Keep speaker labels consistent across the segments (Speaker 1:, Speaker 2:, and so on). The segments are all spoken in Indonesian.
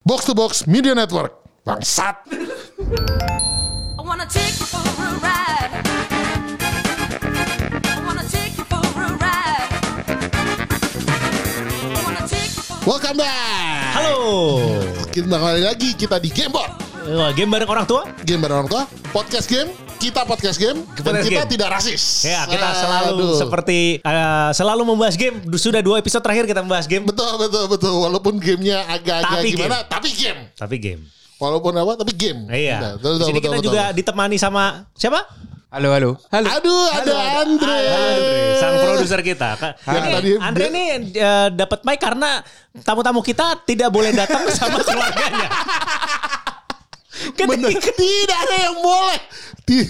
Speaker 1: Box to Box Media Network. Bangsat.
Speaker 2: I wanna take you for a ride. I wanna take you for a ride. I wanna take you for
Speaker 1: Welcome back.
Speaker 3: Halo.
Speaker 1: Kita kembali lagi kita di Gamebot.
Speaker 3: Wah, game bareng orang tua?
Speaker 1: Game bareng orang tua, podcast game, kita podcast game, dan
Speaker 3: Podcast
Speaker 1: kita
Speaker 3: game.
Speaker 1: tidak rasis.
Speaker 3: Ya, kita selalu
Speaker 1: Aduh.
Speaker 3: seperti eh, selalu membahas game. Du- Sudah dua episode terakhir kita membahas game,
Speaker 1: Betul, betul, betul. Walaupun gamenya agak-agak
Speaker 3: Tapi
Speaker 1: gimana, tapi game.
Speaker 3: tapi game.
Speaker 1: Walaupun apa, tapi game. Betul,
Speaker 3: Iya. Di
Speaker 1: betul,
Speaker 3: sini
Speaker 1: betul,
Speaker 3: kita
Speaker 1: betul.
Speaker 3: juga ditemani sama siapa?
Speaker 4: Halo, halo. Halo.
Speaker 1: Aduh, ada Andre.
Speaker 3: Andre, sang produser kita. Ka-
Speaker 1: Yang
Speaker 3: ini,
Speaker 1: tadi-
Speaker 3: Andre ini eh, dapat mic karena tamu-tamu kita tidak boleh datang sama keluarganya.
Speaker 1: Bener.
Speaker 3: Ketika,
Speaker 1: Tidak ada yang boleh. Ti-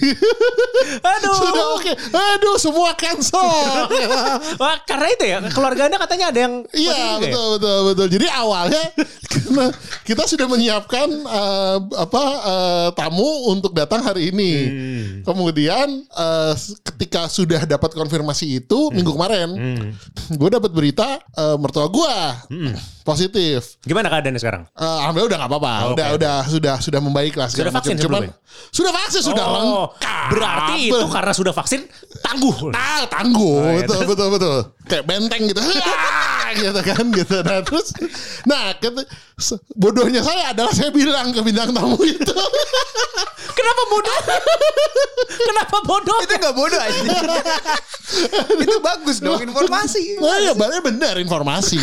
Speaker 3: aduh.
Speaker 1: Sudah oke. Aduh, semua cancel.
Speaker 3: Wah, karena itu ya keluarga Anda katanya ada yang
Speaker 1: Iya
Speaker 3: positif ya?
Speaker 1: betul betul betul. Jadi awalnya karena kita sudah menyiapkan eh, apa eh, tamu untuk datang hari ini.
Speaker 3: Hmm.
Speaker 1: Kemudian eh, s- ketika sudah dapat konfirmasi itu
Speaker 3: Hmm.
Speaker 1: minggu kemarin, gue dapat berita eh, mertua gue
Speaker 3: Hmm.
Speaker 1: positif.
Speaker 3: Gimana keadaannya sekarang?
Speaker 1: Eh, alhamdulillah udah nggak apa-apa.
Speaker 3: Oh,
Speaker 1: udah
Speaker 3: oke.
Speaker 1: udah sudah sudah membaik lah. segala
Speaker 3: Sudah vaksin
Speaker 1: macam. Cuman- sudah vaksin sudah
Speaker 3: Oh,
Speaker 1: lengkap.
Speaker 3: Berarti itu karena sudah vaksin tangguh.
Speaker 1: Ah, tangguh,
Speaker 4: Oh,
Speaker 3: iya,
Speaker 1: betul, betul, betul. Kayak benteng gitu.
Speaker 4: Iya.
Speaker 1: Ah, gitu kan, gitu. Nah, terus, nah, ket- se- bodohnya saya adalah saya bilang ke bintang tamu itu.
Speaker 3: Kenapa bodoh? Kenapa bodoh?
Speaker 4: Itu nggak bodoh aja. itu bagus dong informasi.
Speaker 1: Nah, ya, benar benar informasi.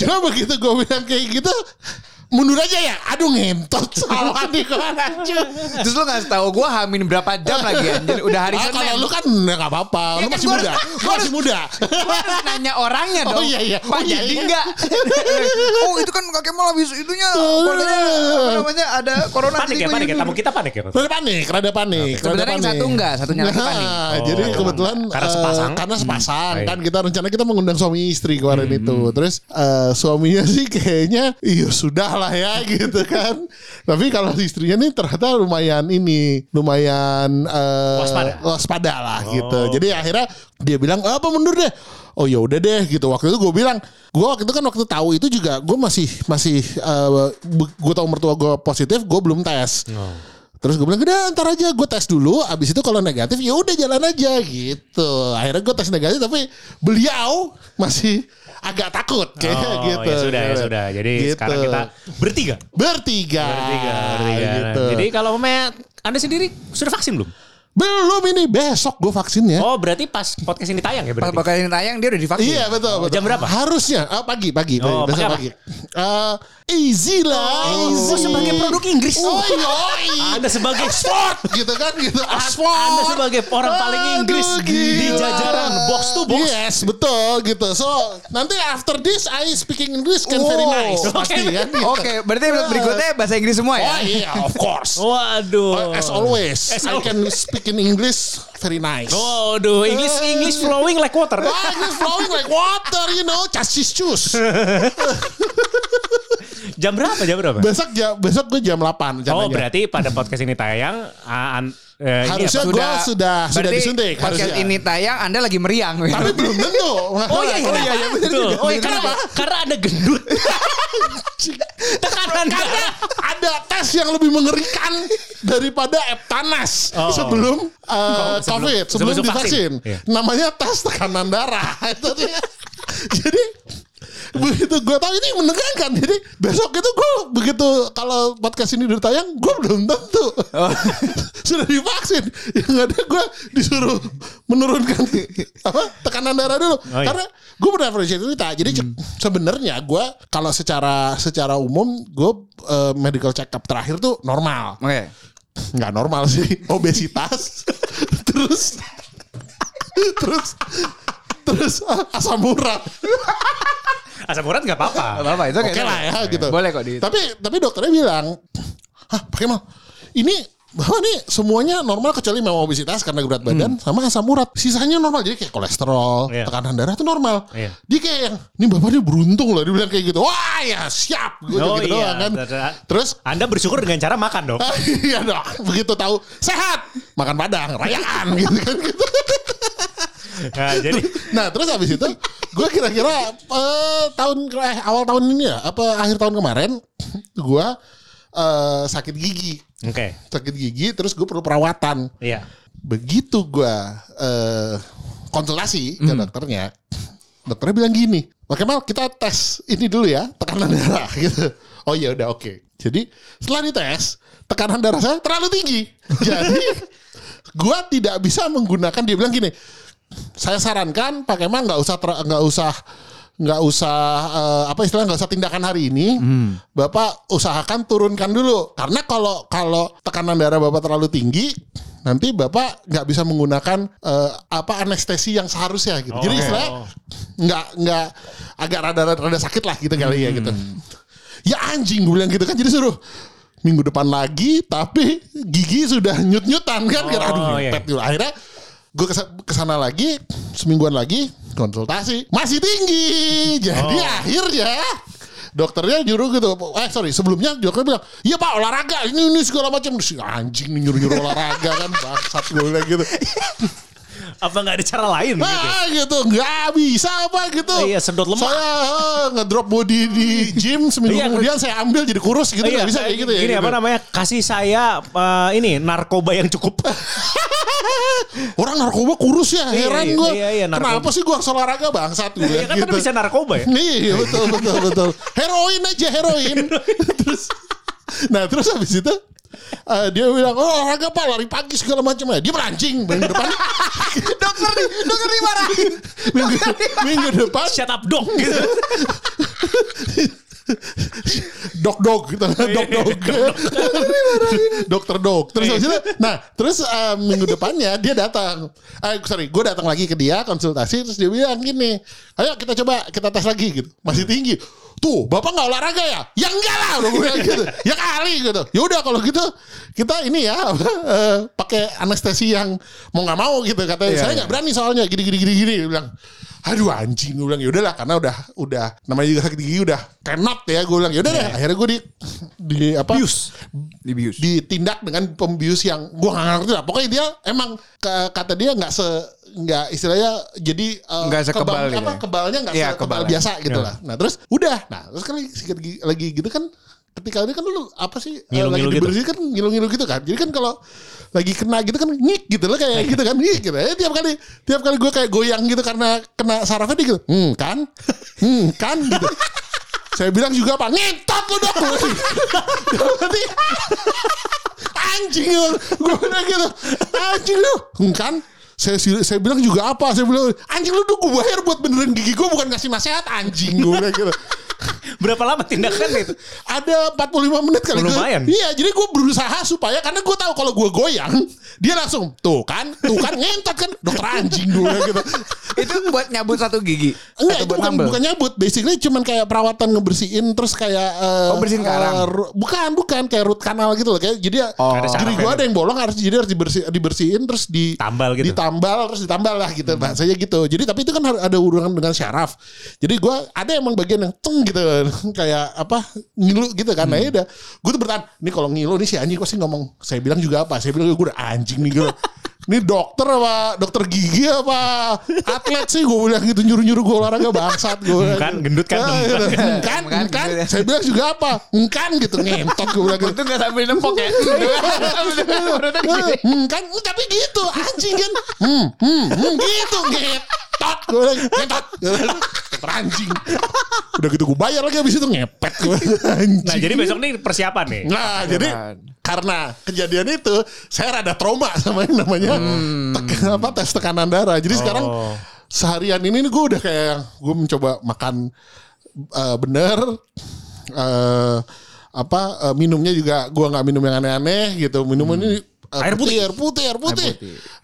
Speaker 1: Cuma begitu gue bilang kayak gitu, mundur aja ya. Aduh, ngentot sama di kemana aja.
Speaker 4: Terus lu ngasih tahu gue hamin berapa jam lagi anjir. Udah hari
Speaker 1: Ah, kalau
Speaker 4: Senin.
Speaker 1: lu kan nggak apa-apa,
Speaker 4: Ya
Speaker 1: lu
Speaker 4: kan,
Speaker 1: masih
Speaker 4: gua
Speaker 1: muda,
Speaker 4: harus-
Speaker 1: lu masih muda.
Speaker 4: Gua harus nanya orangnya
Speaker 1: Oh,
Speaker 4: dong.
Speaker 1: iya, iya.
Speaker 4: Pak
Speaker 1: Oh, iya,
Speaker 4: jadi
Speaker 1: iya.
Speaker 4: enggak? oh itu kan kakek Kemal habis itunya. keluarganya, apa namanya ada corona.
Speaker 3: Panik
Speaker 4: jadi
Speaker 3: ya,
Speaker 4: gua
Speaker 3: panik ya.
Speaker 4: ini-
Speaker 3: Tamu kita panik ya.
Speaker 1: Rada panik, rada panik. rada
Speaker 4: Sebenarnya yang
Speaker 1: panik.
Speaker 4: satu enggak, satunya lagi panik.
Speaker 1: Nah,
Speaker 3: Oh.
Speaker 1: Jadi kebetulan
Speaker 3: Karena
Speaker 1: eh,
Speaker 3: sepasang.
Speaker 1: karena sepasang
Speaker 3: Hmm.
Speaker 1: kan kita rencana kita mengundang suami istri kemarin itu. Terus eh, suaminya sih kayaknya iya sudah lah ya gitu kan. Tapi kalau istrinya nih ternyata lumayan ini, lumayan eh,
Speaker 3: Waspada. Oh.
Speaker 1: waspada lah gitu. Jadi akhirnya dia bilang "Ah, apa mundur deh. Oh ya udah deh gitu. Waktu itu gue bilang, gue waktu itu kan waktu tahu itu juga gue masih masih gue tahu mertua gue positif, gue belum tes.
Speaker 3: Oh.
Speaker 1: Terus gue bilang udah ntar aja gue tes dulu Abis itu kalau negatif ya udah jalan aja gitu Akhirnya gue tes negatif tapi beliau masih agak takut kayak
Speaker 3: Oh,
Speaker 1: gitu
Speaker 3: ya sudah, ya sudah. Jadi
Speaker 1: Gitu.
Speaker 3: sekarang kita bertiga.
Speaker 1: Bertiga,
Speaker 3: Bertiga, bertiga.
Speaker 1: gitu.
Speaker 3: Jadi kalau memang Anda sendiri sudah vaksin belum?
Speaker 1: Belum ini besok ya. gue vaksinnya
Speaker 3: Oh, berarti pas podcast ini tayang ya
Speaker 4: Pas
Speaker 3: berarti.
Speaker 4: bakal ini tayang dia udah divaksin.
Speaker 1: Iya betul, betul.
Speaker 3: Oh, jam berapa?
Speaker 1: Harusnya ah, pagi pagi
Speaker 3: Oh,
Speaker 1: besok
Speaker 3: pakai
Speaker 1: pagi. Eh, easy lah, easy.
Speaker 3: sebagai produk Inggris.
Speaker 1: Oh, iya, oh, iya.
Speaker 3: Anda sebagai
Speaker 1: Oxford gitu kan gitu Oxford.
Speaker 3: Anda sebagai orang paling Inggris di
Speaker 1: gila.
Speaker 3: jajaran box to box.
Speaker 1: Yes betul gitu So nanti after this I speaking English can very
Speaker 4: Wow.
Speaker 1: nice Pasti kan gitu.
Speaker 4: Oke, berarti berikutnya bahasa Inggris semua ya.
Speaker 1: Oh iya of course
Speaker 3: Waduh.
Speaker 1: Oh, As always
Speaker 3: Oh. As
Speaker 1: I
Speaker 3: Oh.
Speaker 1: can speak in English very nice
Speaker 3: Waduh, English
Speaker 1: Eh.
Speaker 3: English flowing like water.
Speaker 1: Ah, English flowing like water you know Chassis juice
Speaker 3: Jam berapa? Jam berapa?
Speaker 1: Besok jam, besok gue jam 8
Speaker 3: Oh,
Speaker 1: rencananya.
Speaker 3: berarti pada podcast ini tayang ah, an- eh, ini
Speaker 1: Harusnya
Speaker 3: apa?
Speaker 1: gua sudah- sudah
Speaker 4: berarti
Speaker 1: disuntik,
Speaker 4: Podcast
Speaker 1: harusnya.
Speaker 4: ini tayang Anda lagi meriang.
Speaker 1: Tapi belum tentu
Speaker 3: Oh iya, iya,
Speaker 1: Oh,
Speaker 3: iya,
Speaker 1: bener
Speaker 3: betul.
Speaker 1: juga.
Speaker 3: Oh iya,
Speaker 1: Bener
Speaker 3: karena,
Speaker 1: juga.
Speaker 3: karena ada gendut. Tekanan darah.
Speaker 1: ada tes yang lebih mengerikan daripada eptanas
Speaker 3: Oh.
Speaker 1: sebelum, uh,
Speaker 3: sebelum-
Speaker 1: covid sebelum,
Speaker 3: sebelum
Speaker 1: divaksin
Speaker 3: vaksin. Iya.
Speaker 1: namanya tes tekanan darah itu dia. jadi begitu gue tahu ini menegangkan jadi besok itu gue begitu kalau podcast ini ditayang gue belum tentu
Speaker 3: Oh.
Speaker 1: sudah divaksin yang ada gue disuruh menurunkan apa tekanan darah dulu
Speaker 3: iya.
Speaker 1: karena gue pernah pernah cerita jadi ce- sebenarnya gue kalau secara secara umum gue eh, medical check up terakhir tuh normal
Speaker 4: Oke.
Speaker 1: nggak normal sih obesitas terus terus terus asam urat
Speaker 3: Asam urat gak apa-apa.
Speaker 4: Gak apa-apa, itu
Speaker 1: oke lah ya gitu
Speaker 4: Boleh kok di.
Speaker 1: tapi tapi dokternya bilang hah pakai mal ini bahwa nih semuanya normal kecuali memang obesitas karena berat badan sama asam urat sisanya normal jadi kayak kolesterol
Speaker 3: Iya.
Speaker 1: tekanan darah itu normal
Speaker 3: Iya.
Speaker 1: dia kayak yang ini bapaknya beruntung loh dia bilang kayak gitu wah ya siap gue
Speaker 3: Oh,
Speaker 1: gitu
Speaker 3: iya.
Speaker 1: doang kan
Speaker 3: Terus-
Speaker 1: terus
Speaker 3: Anda bersyukur dengan cara makan dong. Nah,
Speaker 1: Ah, iya dong begitu tahu sehat makan padang rayaan gitu kan gitu.
Speaker 3: Nah, jadi
Speaker 1: Nah terus habis itu gue kira-kira eh, tahun eh, awal tahun ini ya apa akhir tahun kemarin gue eh, sakit gigi
Speaker 3: oke.
Speaker 1: sakit gigi terus gue perlu perawatan
Speaker 3: Iya.
Speaker 1: begitu gue eh, konsultasi ke dokternya dokternya bilang gini oke mal kita tes ini dulu ya tekanan darah gitu oh ya udah oke jadi setelah dites tekanan darah saya terlalu tinggi jadi gue tidak bisa menggunakan dia bilang gini saya sarankan Pak Kemal nggak usah ter- nggak usah nggak usah eh, apa istilahnya nggak usah tindakan hari ini bapak usahakan turunkan dulu karena kalau kalau tekanan darah bapak terlalu tinggi nanti bapak nggak bisa menggunakan eh, apa anestesi yang seharusnya gitu jadi istilahnya nggak nggak agak rada-rada sakit lah gitu kali ya gitu ya anjing gue bilang gitu kan jadi suruh minggu depan lagi tapi gigi sudah nyut-nyutan kan Kira, aduh
Speaker 3: iya.
Speaker 1: nyepet dulu akhirnya gue kesana lagi semingguan lagi konsultasi masih tinggi jadi akhirnya dokternya nyuruh gitu eh sorry sebelumnya dokter bilang iya pak olahraga ini ini segala macam Terus, anjing nih nyuruh nyuruh olahraga kan bangsat gue bilang gitu
Speaker 3: Apa nggak ada cara lain gitu?
Speaker 1: ah gitu nggak bisa apa gitu
Speaker 3: Iya, sedot lemak.
Speaker 1: saya eh, ngedrop body di gym seminggu
Speaker 3: Iya,
Speaker 1: kemudian saya ambil jadi kurus gitu nggak bisa
Speaker 3: saya-
Speaker 1: kayak gitu ya
Speaker 3: Iya, Gini
Speaker 1: gitu.
Speaker 3: apa namanya? Kasih saya eh, ini narkoba yang cukup.
Speaker 1: orang narkoba kurus ya
Speaker 3: Iya,
Speaker 1: heran
Speaker 3: iya,
Speaker 1: gue
Speaker 3: iya, iya, narkoba.
Speaker 1: kenapa sih gue harus olahraga bangsat gue
Speaker 3: Iya kan tapi bisa narkoba ya.
Speaker 1: Iya betul betul betul. Heroin aja heroin. terus nah terus habis itu eh, dia bilang oh olahraga pak lari pagi segala macam ya. Dia melancing minggu depan.
Speaker 4: dokter nih, dokter dimarahin.
Speaker 1: minggu, minggu depan
Speaker 3: Shut up dong gitu.
Speaker 1: dok dok gitu. dok dok dokter dok terus habis itu nah terus eh, minggu depannya dia datang eh sorry gue datang lagi ke dia konsultasi terus dia bilang gini ayo kita coba kita tes lagi gitu masih tinggi tuh bapak nggak olahraga ya ya enggak lah gue bilang gitu ya kali gitu ya udah kalau gitu kita ini ya apa, eh, pakai anestesi yang mau nggak mau gitu katanya saya nggak berani soalnya gini gini gini gini Dia bilang aduh anjing gue bilang yaudahlah karena udah udah namanya juga sakit gigi udah cannot ya gue bilang
Speaker 4: Iya,
Speaker 1: yaudah deh akhirnya gue di di apa
Speaker 4: Dibius.
Speaker 1: ditindak dengan pembius yang gue nggak ngerti lah pokoknya dia emang ke- kata dia nggak se nggak istilahnya jadi eh,
Speaker 4: Nggak sekebal gitu
Speaker 1: apa,
Speaker 4: ya.
Speaker 1: kebalnya nggak
Speaker 4: Iya,
Speaker 1: sekebal
Speaker 4: kebalnya.
Speaker 1: biasa gitu lah nah terus udah nah terus kan lagi, sikat gigi- lagi gitu kan ketika ini kan lu apa sih eh, lagi
Speaker 3: Ngilu-ngilu gitu.
Speaker 1: dibersihin kan ngilu-ngilu gitu kan jadi kan kalau lagi kena gitu kan nyik gitu loh kayak gitu kan nyik gitu Eh, tiap kali tiap kali gue kayak goyang gitu karena kena sarafnya dia gitu hmm kan hmm kan gitu saya bilang juga pak ngentot lu dong berarti anjing lu gue bilang gitu anjing lu "Hmm, kan saya, saya bilang juga apa saya bilang anjing lu tuh gue bayar buat benerin gigi gue bukan ngasih nasihat anjing gue bilang gitu
Speaker 3: Berapa lama tindakan itu?
Speaker 1: ada 45 menit kali gue-
Speaker 3: Lumayan.
Speaker 1: iya jadi gue berusaha supaya karena gue tahu kalau gue goyang dia langsung tuh kan tuh kan ngentot kan dokter anjing gue bilang gitu
Speaker 4: Itu buat nyabut satu gigi.
Speaker 1: Enggak,
Speaker 4: Atau
Speaker 1: itu bukan,
Speaker 4: nambel?
Speaker 1: bukan nyabut. Basically cuman kayak perawatan ngebersihin terus kayak eh,
Speaker 4: Oh, bersihin
Speaker 1: eh,
Speaker 4: karang.
Speaker 1: ru- bukan, bukan kayak root kanal gitu loh. Kayak jadi
Speaker 4: Oh.
Speaker 1: ada jadi gua ada yang bolong harus jadi harus dibersi- dibersihin terus di
Speaker 3: Tambal gitu.
Speaker 1: Ditambal terus ditambal lah gitu bahasanya gitu. Jadi tapi itu kan har- ada hubungan dengan syaraf. Jadi gua ada emang bagian yang teng gitu kayak apa ngilu gitu kan. Nah, ya
Speaker 3: Hmm.
Speaker 1: udah gua tuh bertahan, nih kalau ngilu nih si anjing pasti ngomong. Saya bilang juga apa? Saya bilang gua udah anjing nih gitu. Ini dokter apa dokter gigi apa atlet sih gue bilang gitu nyuruh nyuruh gue olahraga bangsat gue
Speaker 3: Kan, gendut kan,
Speaker 1: kan
Speaker 3: gendut.
Speaker 1: kan, kan. saya bilang juga apa kan gitu ngentot gue bilang gitu
Speaker 4: Untung gak sambil nempok ya. Udah gini.
Speaker 1: Hmm, kan Hmm, tapi gitu anjing kan hmm, hmm, hmm, gitu ngetot gue bilang ngetot Gua bilang, "Dokter anjing udah gitu gue bayar lagi habis itu ngepet gue anjing
Speaker 3: Nah, jadi besok nih persiapan nih.
Speaker 1: Nah, jadi
Speaker 3: kan.
Speaker 1: karena kejadian itu saya rada trauma sama yang namanya
Speaker 3: Hmm.
Speaker 1: tek- apa tes tekanan darah. Jadi sekarang
Speaker 3: Oh.
Speaker 1: seharian ini nih gue udah kayak gue mencoba makan eh, bener eh, apa eh, minumnya juga gue nggak minum yang aneh-aneh gitu. Minum ini eh,
Speaker 3: Hmm. Air putih.
Speaker 1: air putih, air putih,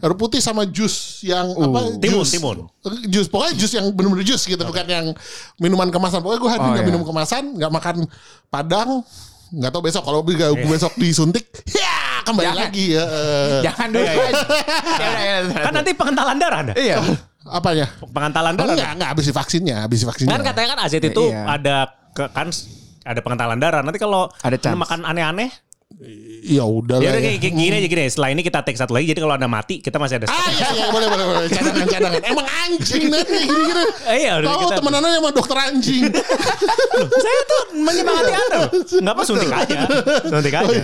Speaker 1: air putih, sama jus yang apa?
Speaker 3: Timun,
Speaker 1: jus.
Speaker 3: timun.
Speaker 1: Jus pokoknya jus yang benar-benar jus gitu, bukan yang minuman kemasan. Pokoknya gue hari
Speaker 4: Oh,
Speaker 1: nggak
Speaker 4: iya.
Speaker 1: minum kemasan, nggak makan padang, nggak tahu besok kalau gue besok disuntik, ya kembali
Speaker 4: Jangan.
Speaker 1: lagi ya. eh,
Speaker 4: Jangan dulu.
Speaker 3: Iya,
Speaker 4: Ya udah, ya udah.
Speaker 3: Kan nanti pengentalan darah ada.
Speaker 4: Iya.
Speaker 1: Apanya?
Speaker 3: Pengentalan darah.
Speaker 1: Enggak, enggak habis vaksinnya, habis vaksinnya.
Speaker 3: Kan katanya kan AZT itu
Speaker 4: Iya.
Speaker 3: ada ke, kan s- ada pengentalan darah. Nanti kalau
Speaker 4: Ada chance.
Speaker 3: makan aneh-aneh
Speaker 1: ya udah
Speaker 3: Ya
Speaker 1: lah
Speaker 3: udah
Speaker 1: ya.
Speaker 3: kayak kayak gini aja gini. Setelah ini kita take satu lagi. Jadi kalau ada mati kita masih ada. satu.
Speaker 1: Ah iya iya boleh boleh boleh cadangan cadangan emang anjing nih gini-gini
Speaker 3: Eh, iya, udah
Speaker 1: tahu
Speaker 3: kita-
Speaker 1: temenannya sama dokter anjing
Speaker 3: Saya tuh menyemangati Anda loh. Oh, iya. Enggak apa suntik aja. Suntik aja.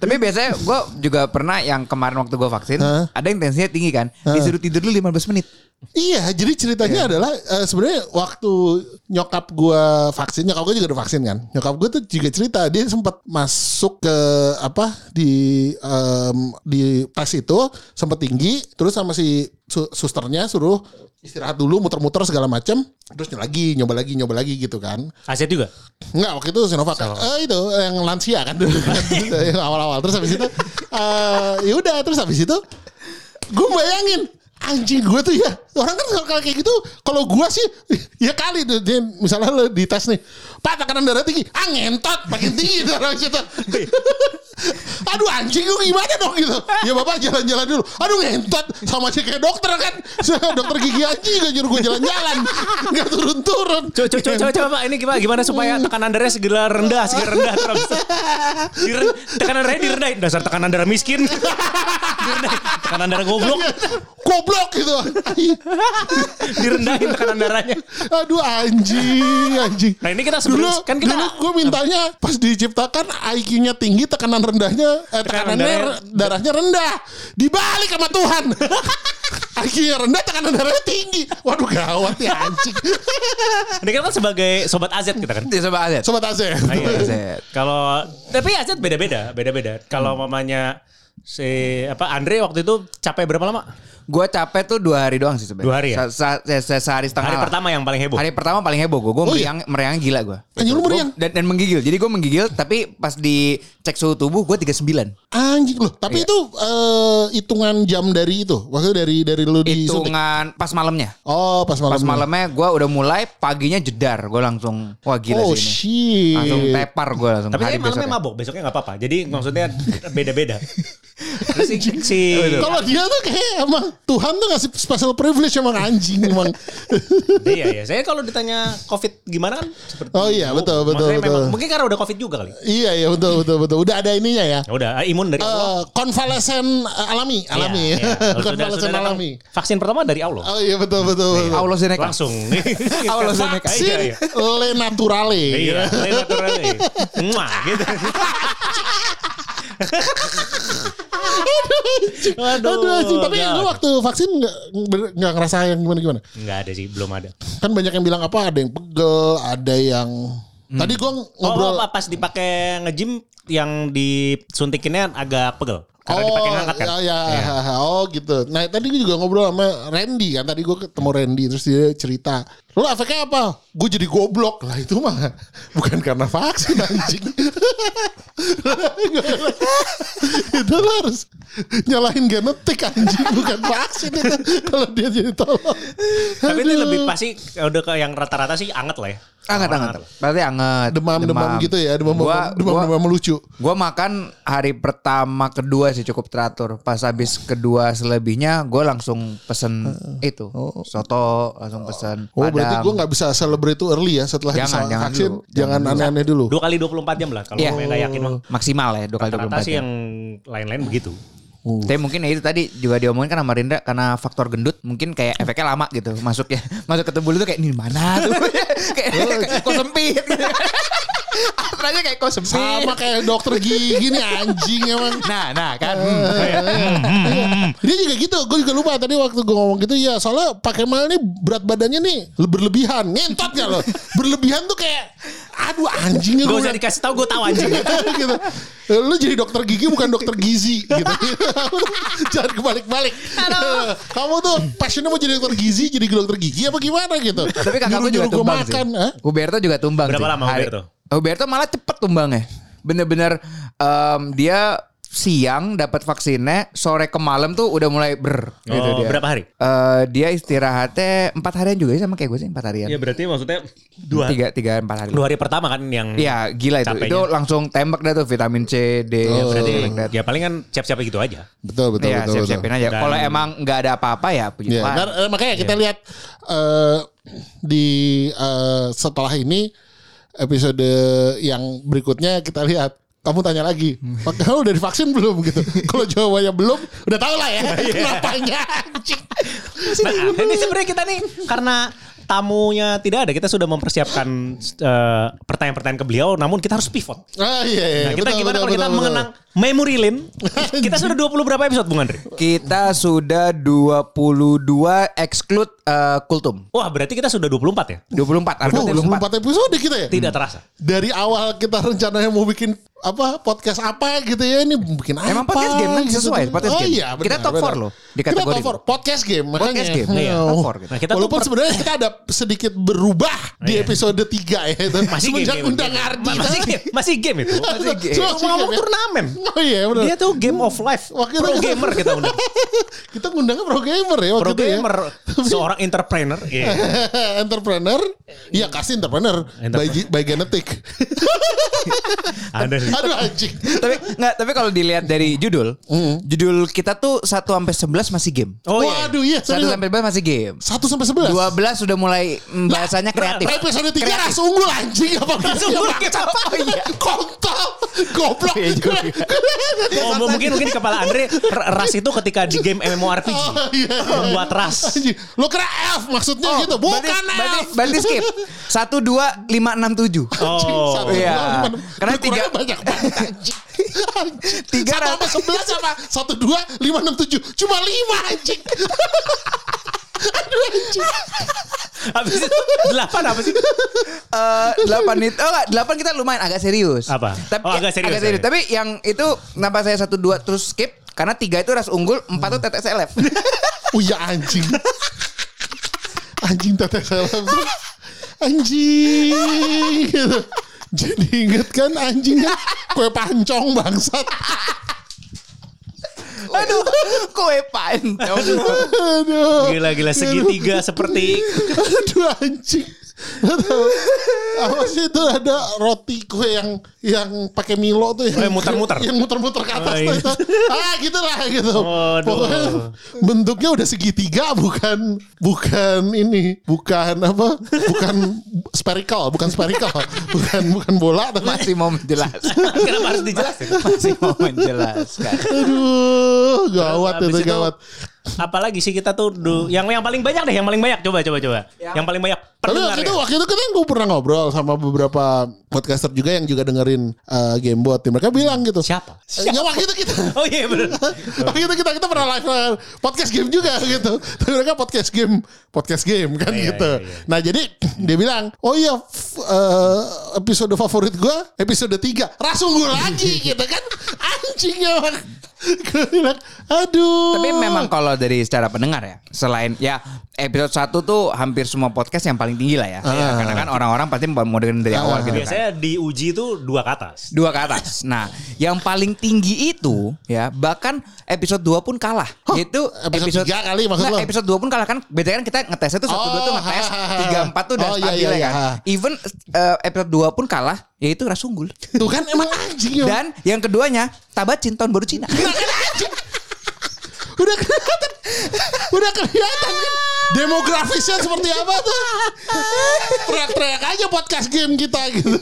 Speaker 4: Tapi biasanya gue juga pernah yang kemarin waktu gue vaksin,
Speaker 1: Hah?
Speaker 4: ada yang tensinya tinggi kan, disuruh tidur dulu 15 menit.
Speaker 1: Iya, jadi ceritanya adalah eh, sebenarnya waktu nyokap gua vaksin, nyokap gua juga udah vaksin kan. Nyokap gua tuh juga cerita dia sempat masuk ke apa di em, di tes itu sempat tinggi, terus sama si su- susternya suruh istirahat dulu muter-muter segala macem terus lagi nyoba lagi nyoba lagi gitu kan
Speaker 3: Aset juga.
Speaker 1: Enggak, waktu itu Sinovac. kan? Eh, itu yang lansia kan dulu kan. yang awal-awal. Terus habis itu eh ya udah, terus habis itu gue bayangin anjing gue tuh ya orang kan kalau kayak gitu kalau gue sih ya kali tuh dia misalnya lo di tes nih pak tekanan darah tinggi ah ngentot makin tinggi tuh orang situ aduh anjing gue gimana dong gitu ya bapak jalan-jalan dulu aduh ngentot sama sih kayak dokter kan dokter gigi anjing gak nyuruh gue jalan-jalan nggak turun-turun
Speaker 3: Coba coba coba coba Pak, ini gimana, gimana supaya tekanan darahnya segera rendah, segera rendah terus. Dire- tekanan darahnya direndahin. Dasar tekanan darah miskin. Direndahin. Tekanan darah goblok
Speaker 1: goblok gitu.
Speaker 3: direndahin tekanan darahnya.
Speaker 1: Aduh anjing, anjing.
Speaker 3: Nah, ini kita sebelum-
Speaker 1: dulu,
Speaker 3: kan kita-
Speaker 1: dulu gue mintanya pas diciptakan IQ-nya tinggi, tekanan rendahnya eh,
Speaker 3: Tekanan
Speaker 1: tekanannya
Speaker 3: darah-
Speaker 1: re- darahnya rendah. Dibalik sama Tuhan. IQ-nya rendah, tekanan darahnya tinggi. Waduh gawat ya anjing.
Speaker 3: Ini kan sebagai sobat AZ kita kan.
Speaker 4: Dia
Speaker 1: Iya,
Speaker 4: coba aset.
Speaker 1: Sobat Azet.
Speaker 3: Ah, iya,
Speaker 4: Aset.
Speaker 3: Kalau tapi Azet beda-beda, beda-beda. Kalau mamanya si apa Andre waktu itu capek berapa lama?
Speaker 4: Gue capek tuh dua hari doang sih sebenarnya.
Speaker 3: Dua hari ya?
Speaker 4: Sa- sa- se- se- sehari setengah.
Speaker 3: Hari
Speaker 4: lah.
Speaker 3: pertama yang paling heboh.
Speaker 4: Hari pertama paling heboh gue. Gue
Speaker 1: Oh, iya?
Speaker 4: meriang, meriang gila gue.
Speaker 1: Anjing, lu meriang?
Speaker 4: Dan, dan menggigil. Jadi gue menggigil tapi pas dicek suhu tubuh gue 39.
Speaker 1: Anjing loh. Tapi
Speaker 3: Iya.
Speaker 1: itu eh, hitungan jam dari itu. Maksudnya dari dari lu disuntik.
Speaker 4: Hitungan pas malamnya.
Speaker 1: Oh pas malam.
Speaker 4: Pas malamnya gue udah mulai paginya jedar. Gue langsung wah gila
Speaker 1: Oh
Speaker 4: sih ini.
Speaker 1: shit.
Speaker 4: Langsung tepar gue langsung
Speaker 3: Tapi
Speaker 4: hari
Speaker 3: dia malamnya
Speaker 4: besoknya.
Speaker 3: mabok, besoknya nggak apa-apa. Jadi maksudnya beda-beda. Terus si, si
Speaker 1: Kalau dia tuh kayak emang Tuhan tuh ngasih special privilege emang anjing emang.
Speaker 3: iya ya. Saya kalau ditanya COVID gimana kan? Seperti
Speaker 1: Oh iya, betul,
Speaker 3: Maksudnya
Speaker 1: betul,
Speaker 3: memang-
Speaker 1: betul.
Speaker 3: mungkin karena udah COVID juga kali.
Speaker 1: iya iya betul betul betul. Udah ada ininya ya.
Speaker 3: Ya udah ah, imun dari Allah.
Speaker 1: Eh, konvalesen eh, alami alami.
Speaker 3: Iya, iya. Kalau sudah-
Speaker 1: konvalesen
Speaker 3: sudah datang,
Speaker 1: alami.
Speaker 3: Vaksin pertama dari Allah.
Speaker 1: Oh iya betul betul. betul.
Speaker 4: Allah Seneca.
Speaker 3: Langsung.
Speaker 4: Allah Seneca.
Speaker 3: Vaksin.
Speaker 1: Sin le naturale.
Speaker 3: Iya, lain aturannya. Mwah, gitu. Aduh,
Speaker 1: Aduh, anjing. Tapi
Speaker 3: gawat.
Speaker 1: lu waktu vaksin nggak ber- nggak ngerasa yang gimana gimana.
Speaker 3: Nggak ada sih, belum ada.
Speaker 1: Kan banyak yang bilang apa ada yang pegel, ada yang Tadi gua ngobrol
Speaker 3: Hmm. Oh, apa pas dipakai nge-gym yang disuntikinnya agak pegel. Karena dipakai ngangkat kan.
Speaker 4: iya,
Speaker 1: ya, ya. oh gitu. Nah tadi gue juga ngobrol sama Randy kan. Tadi gue ketemu Randy terus dia cerita. Lo efeknya apa? Gue jadi goblok lah itu mah. Bukan karena vaksin anjing. itu lo harus nyalahin genetik anjing. Bukan vaksin itu. Kalau dia jadi tolong.
Speaker 3: Tapi ini
Speaker 1: Aduh.
Speaker 3: lebih pasti udah ke yang rata-rata sih anget lah ya.
Speaker 4: Anget, anget. Berarti anget.
Speaker 1: Demam-demam gitu ya.
Speaker 4: Gua-
Speaker 1: Demam-demam demam,
Speaker 4: gua-
Speaker 1: demam lucu.
Speaker 4: Gue makan hari pertama kedua sih cukup teratur. Pas habis kedua selebihnya gue langsung pesen itu soto langsung pesen.
Speaker 1: Oh berarti
Speaker 4: padang.
Speaker 1: gue gak bisa celebrate itu early ya setelah
Speaker 4: Jangan,
Speaker 1: bisa
Speaker 4: jangan
Speaker 1: vaksin.
Speaker 4: dulu.
Speaker 1: Jangan aneh-aneh dulu.
Speaker 3: Dua kali 24 jam lah kalau
Speaker 4: Iya.
Speaker 3: yeah. nggak yakin mah.
Speaker 4: maksimal ya dua kali dua
Speaker 3: Rata-rata sih yang lain-lain begitu.
Speaker 1: Uh.
Speaker 4: Tapi mungkin ya itu tadi juga diomongin kan sama Rindra karena faktor gendut mungkin kayak efeknya lama gitu masuk ya masuk ke tubuh lu tuh kayak ini mana tuh kayak
Speaker 1: Oh,
Speaker 4: kayak, kok sempit gitu kan. Aturannya kayak kok sempit.
Speaker 1: Sama kayak dokter gigi nih anjing emang.
Speaker 4: Nah, nah kan. Hmm.
Speaker 1: Eh. Dia juga gitu, gue juga lupa tadi waktu gue ngomong gitu ya soalnya pakai mal nih berat badannya nih berlebihan, ngentot gak lo? Berlebihan tuh kayak aduh anjingnya
Speaker 3: Gue
Speaker 1: gue
Speaker 3: usah dikasih tahu gue tahu anjing.
Speaker 1: gitu. Lu jadi dokter gigi bukan dokter gizi gitu. Jangan kebalik-balik. Kamu tuh passionnya mau jadi dokter gizi jadi dokter gigi apa gimana gitu.
Speaker 4: Tapi kakak gue juga
Speaker 1: Nyuruh-nyuruh
Speaker 4: tumbang
Speaker 1: gua makan,
Speaker 4: sih.
Speaker 1: Hah?
Speaker 4: Huberto juga tumbang
Speaker 3: Berapa
Speaker 4: sih.
Speaker 3: lama
Speaker 4: Hari-
Speaker 3: Huberto?
Speaker 4: Huberto malah cepet tumbangnya. Bener-bener em, dia siang dapat vaksinnya, sore ke malam tuh udah mulai ber. gitu
Speaker 3: Oh,
Speaker 4: dia.
Speaker 3: berapa hari?
Speaker 4: Eh, dia istirahatnya empat harian juga sih sama kayak gue sih empat harian.
Speaker 3: Ya berarti maksudnya dua
Speaker 4: Iya. Tiga, tiga empat hari.
Speaker 3: dua hari pertama kan yang
Speaker 4: Iya gila itu.
Speaker 3: Capeknya.
Speaker 4: Itu langsung tembak dah tuh vitamin C, D.
Speaker 1: Oh.
Speaker 4: berarti
Speaker 3: berarti ya paling kan siap-siap gitu aja.
Speaker 1: Betul betul
Speaker 4: Iya
Speaker 1: betul. betul.
Speaker 4: siap-siapin aja.
Speaker 3: Dan-
Speaker 4: Kalau emang nggak ada apa-apa ya puji
Speaker 1: Ya,
Speaker 4: Tuhan.
Speaker 1: ntar, eh, makanya
Speaker 4: Iya.
Speaker 1: kita lihat eh, di eh, setelah ini episode yang berikutnya kita lihat kamu tanya lagi,
Speaker 4: Hmm.
Speaker 1: kamu udah divaksin belum gitu? Kalau jawabannya belum, udah tau lah ya
Speaker 4: Iya.
Speaker 1: kenapanya. anjing.
Speaker 3: Nah, ini sebenarnya kita nih karena tamunya tidak ada, kita sudah mempersiapkan eh, pertanyaan-pertanyaan ke beliau, namun kita harus pivot.
Speaker 1: Ah iya, iya.
Speaker 3: Nah, kita
Speaker 1: betul, betul,
Speaker 3: gimana kalau kita
Speaker 1: betul, betul.
Speaker 3: mengenang memory lane? kita sudah 20 berapa episode Bung Andre?
Speaker 4: Kita sudah 22 exclude eh, kultum.
Speaker 3: Wah, berarti kita sudah 24 ya?
Speaker 4: 24
Speaker 1: Oh,
Speaker 4: artinya
Speaker 1: 24
Speaker 4: 24.
Speaker 1: episode kita ya?
Speaker 3: Tidak terasa.
Speaker 1: Dari awal kita rencananya mau bikin apa podcast apa gitu ya ini bikin apa?
Speaker 4: Emang podcast game kan
Speaker 1: gitu.
Speaker 4: sesuai, podcast
Speaker 1: oh,
Speaker 4: game.
Speaker 1: Iya,
Speaker 4: Kita top four loh di
Speaker 1: Kita
Speaker 4: kategori
Speaker 1: top
Speaker 4: itu.
Speaker 1: 4 podcast game makanya.
Speaker 4: Podcast game, iya,
Speaker 1: Oh.
Speaker 4: top four gitu.
Speaker 3: Nah, kita tuh
Speaker 1: Walaupun
Speaker 3: per- Oh, iya.
Speaker 1: sebenarnya kita ada sedikit berubah di episode 3 ya. itu.
Speaker 3: masih game,
Speaker 1: Semenjak
Speaker 3: game,
Speaker 1: undang
Speaker 3: game.
Speaker 1: Ardi.
Speaker 3: Masih game, masih game itu.
Speaker 4: Masih game.
Speaker 1: Masih
Speaker 3: Ngomong-ngomong
Speaker 1: game, ya.
Speaker 3: turnamen.
Speaker 1: Oh iya benar.
Speaker 3: Dia tuh game of life,
Speaker 1: Waktu
Speaker 3: pro
Speaker 1: itu-
Speaker 3: gamer kita undang.
Speaker 1: Kita ngundangnya pro gamer ya waktu
Speaker 3: Pro
Speaker 1: itu ya.
Speaker 3: gamer, seorang entrepreneur. Iya.
Speaker 1: entrepreneur, iya kasih entrepreneur, by,
Speaker 3: Entrepreneur.
Speaker 1: by genetik.
Speaker 3: Ada sih.
Speaker 1: Aduh anjing.
Speaker 4: tapi nggak tapi kalau dilihat dari judul, judul kita tuh 1 sampai 11 masih game.
Speaker 3: Oh iya.
Speaker 1: Waduh iya.
Speaker 4: 1 sampai 11 masih game.
Speaker 1: 1 sampai 11.
Speaker 4: 12 sudah mulai mm, bahasanya kreatif.
Speaker 1: Nah, episode 3 rasa unggul anjing apa
Speaker 3: Langsung
Speaker 1: Iya,
Speaker 3: gua
Speaker 1: Pak.
Speaker 3: kecapa.
Speaker 1: Kontol. Goblok.
Speaker 4: Iya juga.
Speaker 3: Oh,
Speaker 1: Oh,
Speaker 3: mungkin mungkin di kepala Andre r- ras itu ketika di game MMORPG
Speaker 1: iya, iya.
Speaker 3: membuat ras.
Speaker 1: Anjing, Lo kira F maksudnya gitu. Bukan
Speaker 4: Oh, berarti, berarti,
Speaker 1: F.
Speaker 4: berarti skip. 1 2 5 6 7.
Speaker 3: Oh.
Speaker 1: Satu,
Speaker 4: Iya.
Speaker 1: dua, lima,
Speaker 4: Karena
Speaker 1: berkurangnya
Speaker 4: tiga-
Speaker 1: banyak banget anjing. Anjing.
Speaker 4: Tiga
Speaker 1: Satu
Speaker 4: ratus-
Speaker 1: sama sebelas sama satu dua lima enam tujuh cuma lima anjing. Aduh anjing.
Speaker 3: Habis itu delapan apa sih?
Speaker 4: Eh, delapan itu oh enggak, delapan kita lumayan agak serius.
Speaker 3: Apa?
Speaker 4: Tapi ya,
Speaker 3: Oh, agak serius, sorry.
Speaker 4: Tapi yang itu kenapa saya satu dua terus skip? Karena tiga itu ras unggul, empat itu tetes elef.
Speaker 1: Oh ya anjing. Anjing tata salam. Anjing. Gitu. Jadi inget kan anjing kan kue pancong bangsat.
Speaker 4: Aduh, kue pancong.
Speaker 1: Aduh.
Speaker 3: Gila-gila segitiga seperti
Speaker 1: Aduh anjing. Aduh. Apa sih itu ada roti kue yang yang pakai Milo tuh yang
Speaker 3: Oh, yang muter-muter?
Speaker 1: Yang muter-muter ke atas
Speaker 3: Oh, iya.
Speaker 1: tuh itu. Ah, gitu lah gitu.
Speaker 3: Waduh.
Speaker 1: Pokoknya bentuknya udah segitiga bukan bukan ini, bukan apa? Bukan spherical, bukan spherical. bukan bukan bola tapi
Speaker 4: Masih mau menjelaskan.
Speaker 3: kenapa harus dijelasin?
Speaker 4: Masih mau menjelaskan.
Speaker 1: aduh, gawat
Speaker 3: Habis
Speaker 1: itu gawat.
Speaker 3: Apalagi sih kita tuh du- yang yang paling banyak deh, yang paling banyak coba coba coba. Yang, paling banyak ya.
Speaker 1: Tapi waktu itu,
Speaker 3: pendengarnya.
Speaker 1: waktu itu kan gue pernah ngobrol sama beberapa podcaster juga yang juga dengerin eh, Gamebot. Mereka bilang gitu.
Speaker 3: Siapa?
Speaker 1: Enggak waktu itu kita.
Speaker 3: Oh iya bener.
Speaker 1: waktu itu kita kita pernah live eh, podcast game juga gitu. Tapi mereka podcast game, podcast game kan
Speaker 3: Iya,
Speaker 1: gitu.
Speaker 3: iya, iya.
Speaker 1: Nah, jadi dia bilang, "Oh iya, f- eh, episode favorit gua episode 3. Rasunggu lagi gitu kan. Anjing emang. Gue bilang, "Aduh."
Speaker 4: Tapi memang kalau dari secara pendengar ya, selain ya episode 1 tuh hampir semua podcast yang paling tinggi lah ya.
Speaker 1: Ah.
Speaker 4: Ya, Karena kan orang-orang pasti mau dengerin dari awal gitu kan.
Speaker 3: Biasanya diuji itu dua ke atas.
Speaker 4: dua ke atas. Nah, yang paling tinggi itu ya bahkan episode 2 pun kalah. Itu
Speaker 1: episode tiga kali maksud
Speaker 4: Nggak,
Speaker 1: lo?
Speaker 4: episode 2 pun kalah kan. Biasanya kan kita ngetesnya tuh 1 2 tuh
Speaker 1: Oh,
Speaker 4: ngetes,
Speaker 1: ha, ha, ha.
Speaker 4: 3 4 tuh udah
Speaker 1: Oh, iya,
Speaker 4: stabil
Speaker 1: iya,
Speaker 4: ya
Speaker 1: iya,
Speaker 4: kan.
Speaker 1: ha.
Speaker 4: Even eh, episode 2 pun kalah yaitu Rasunggul.
Speaker 1: tuh kan emang anjing emang.
Speaker 4: Dan yang keduanya Tabacin tahun baru Cina.
Speaker 1: udah kelihatan udah kelihatan kan demografisnya seperti apa tuh teriak-teriak aja podcast game kita gitu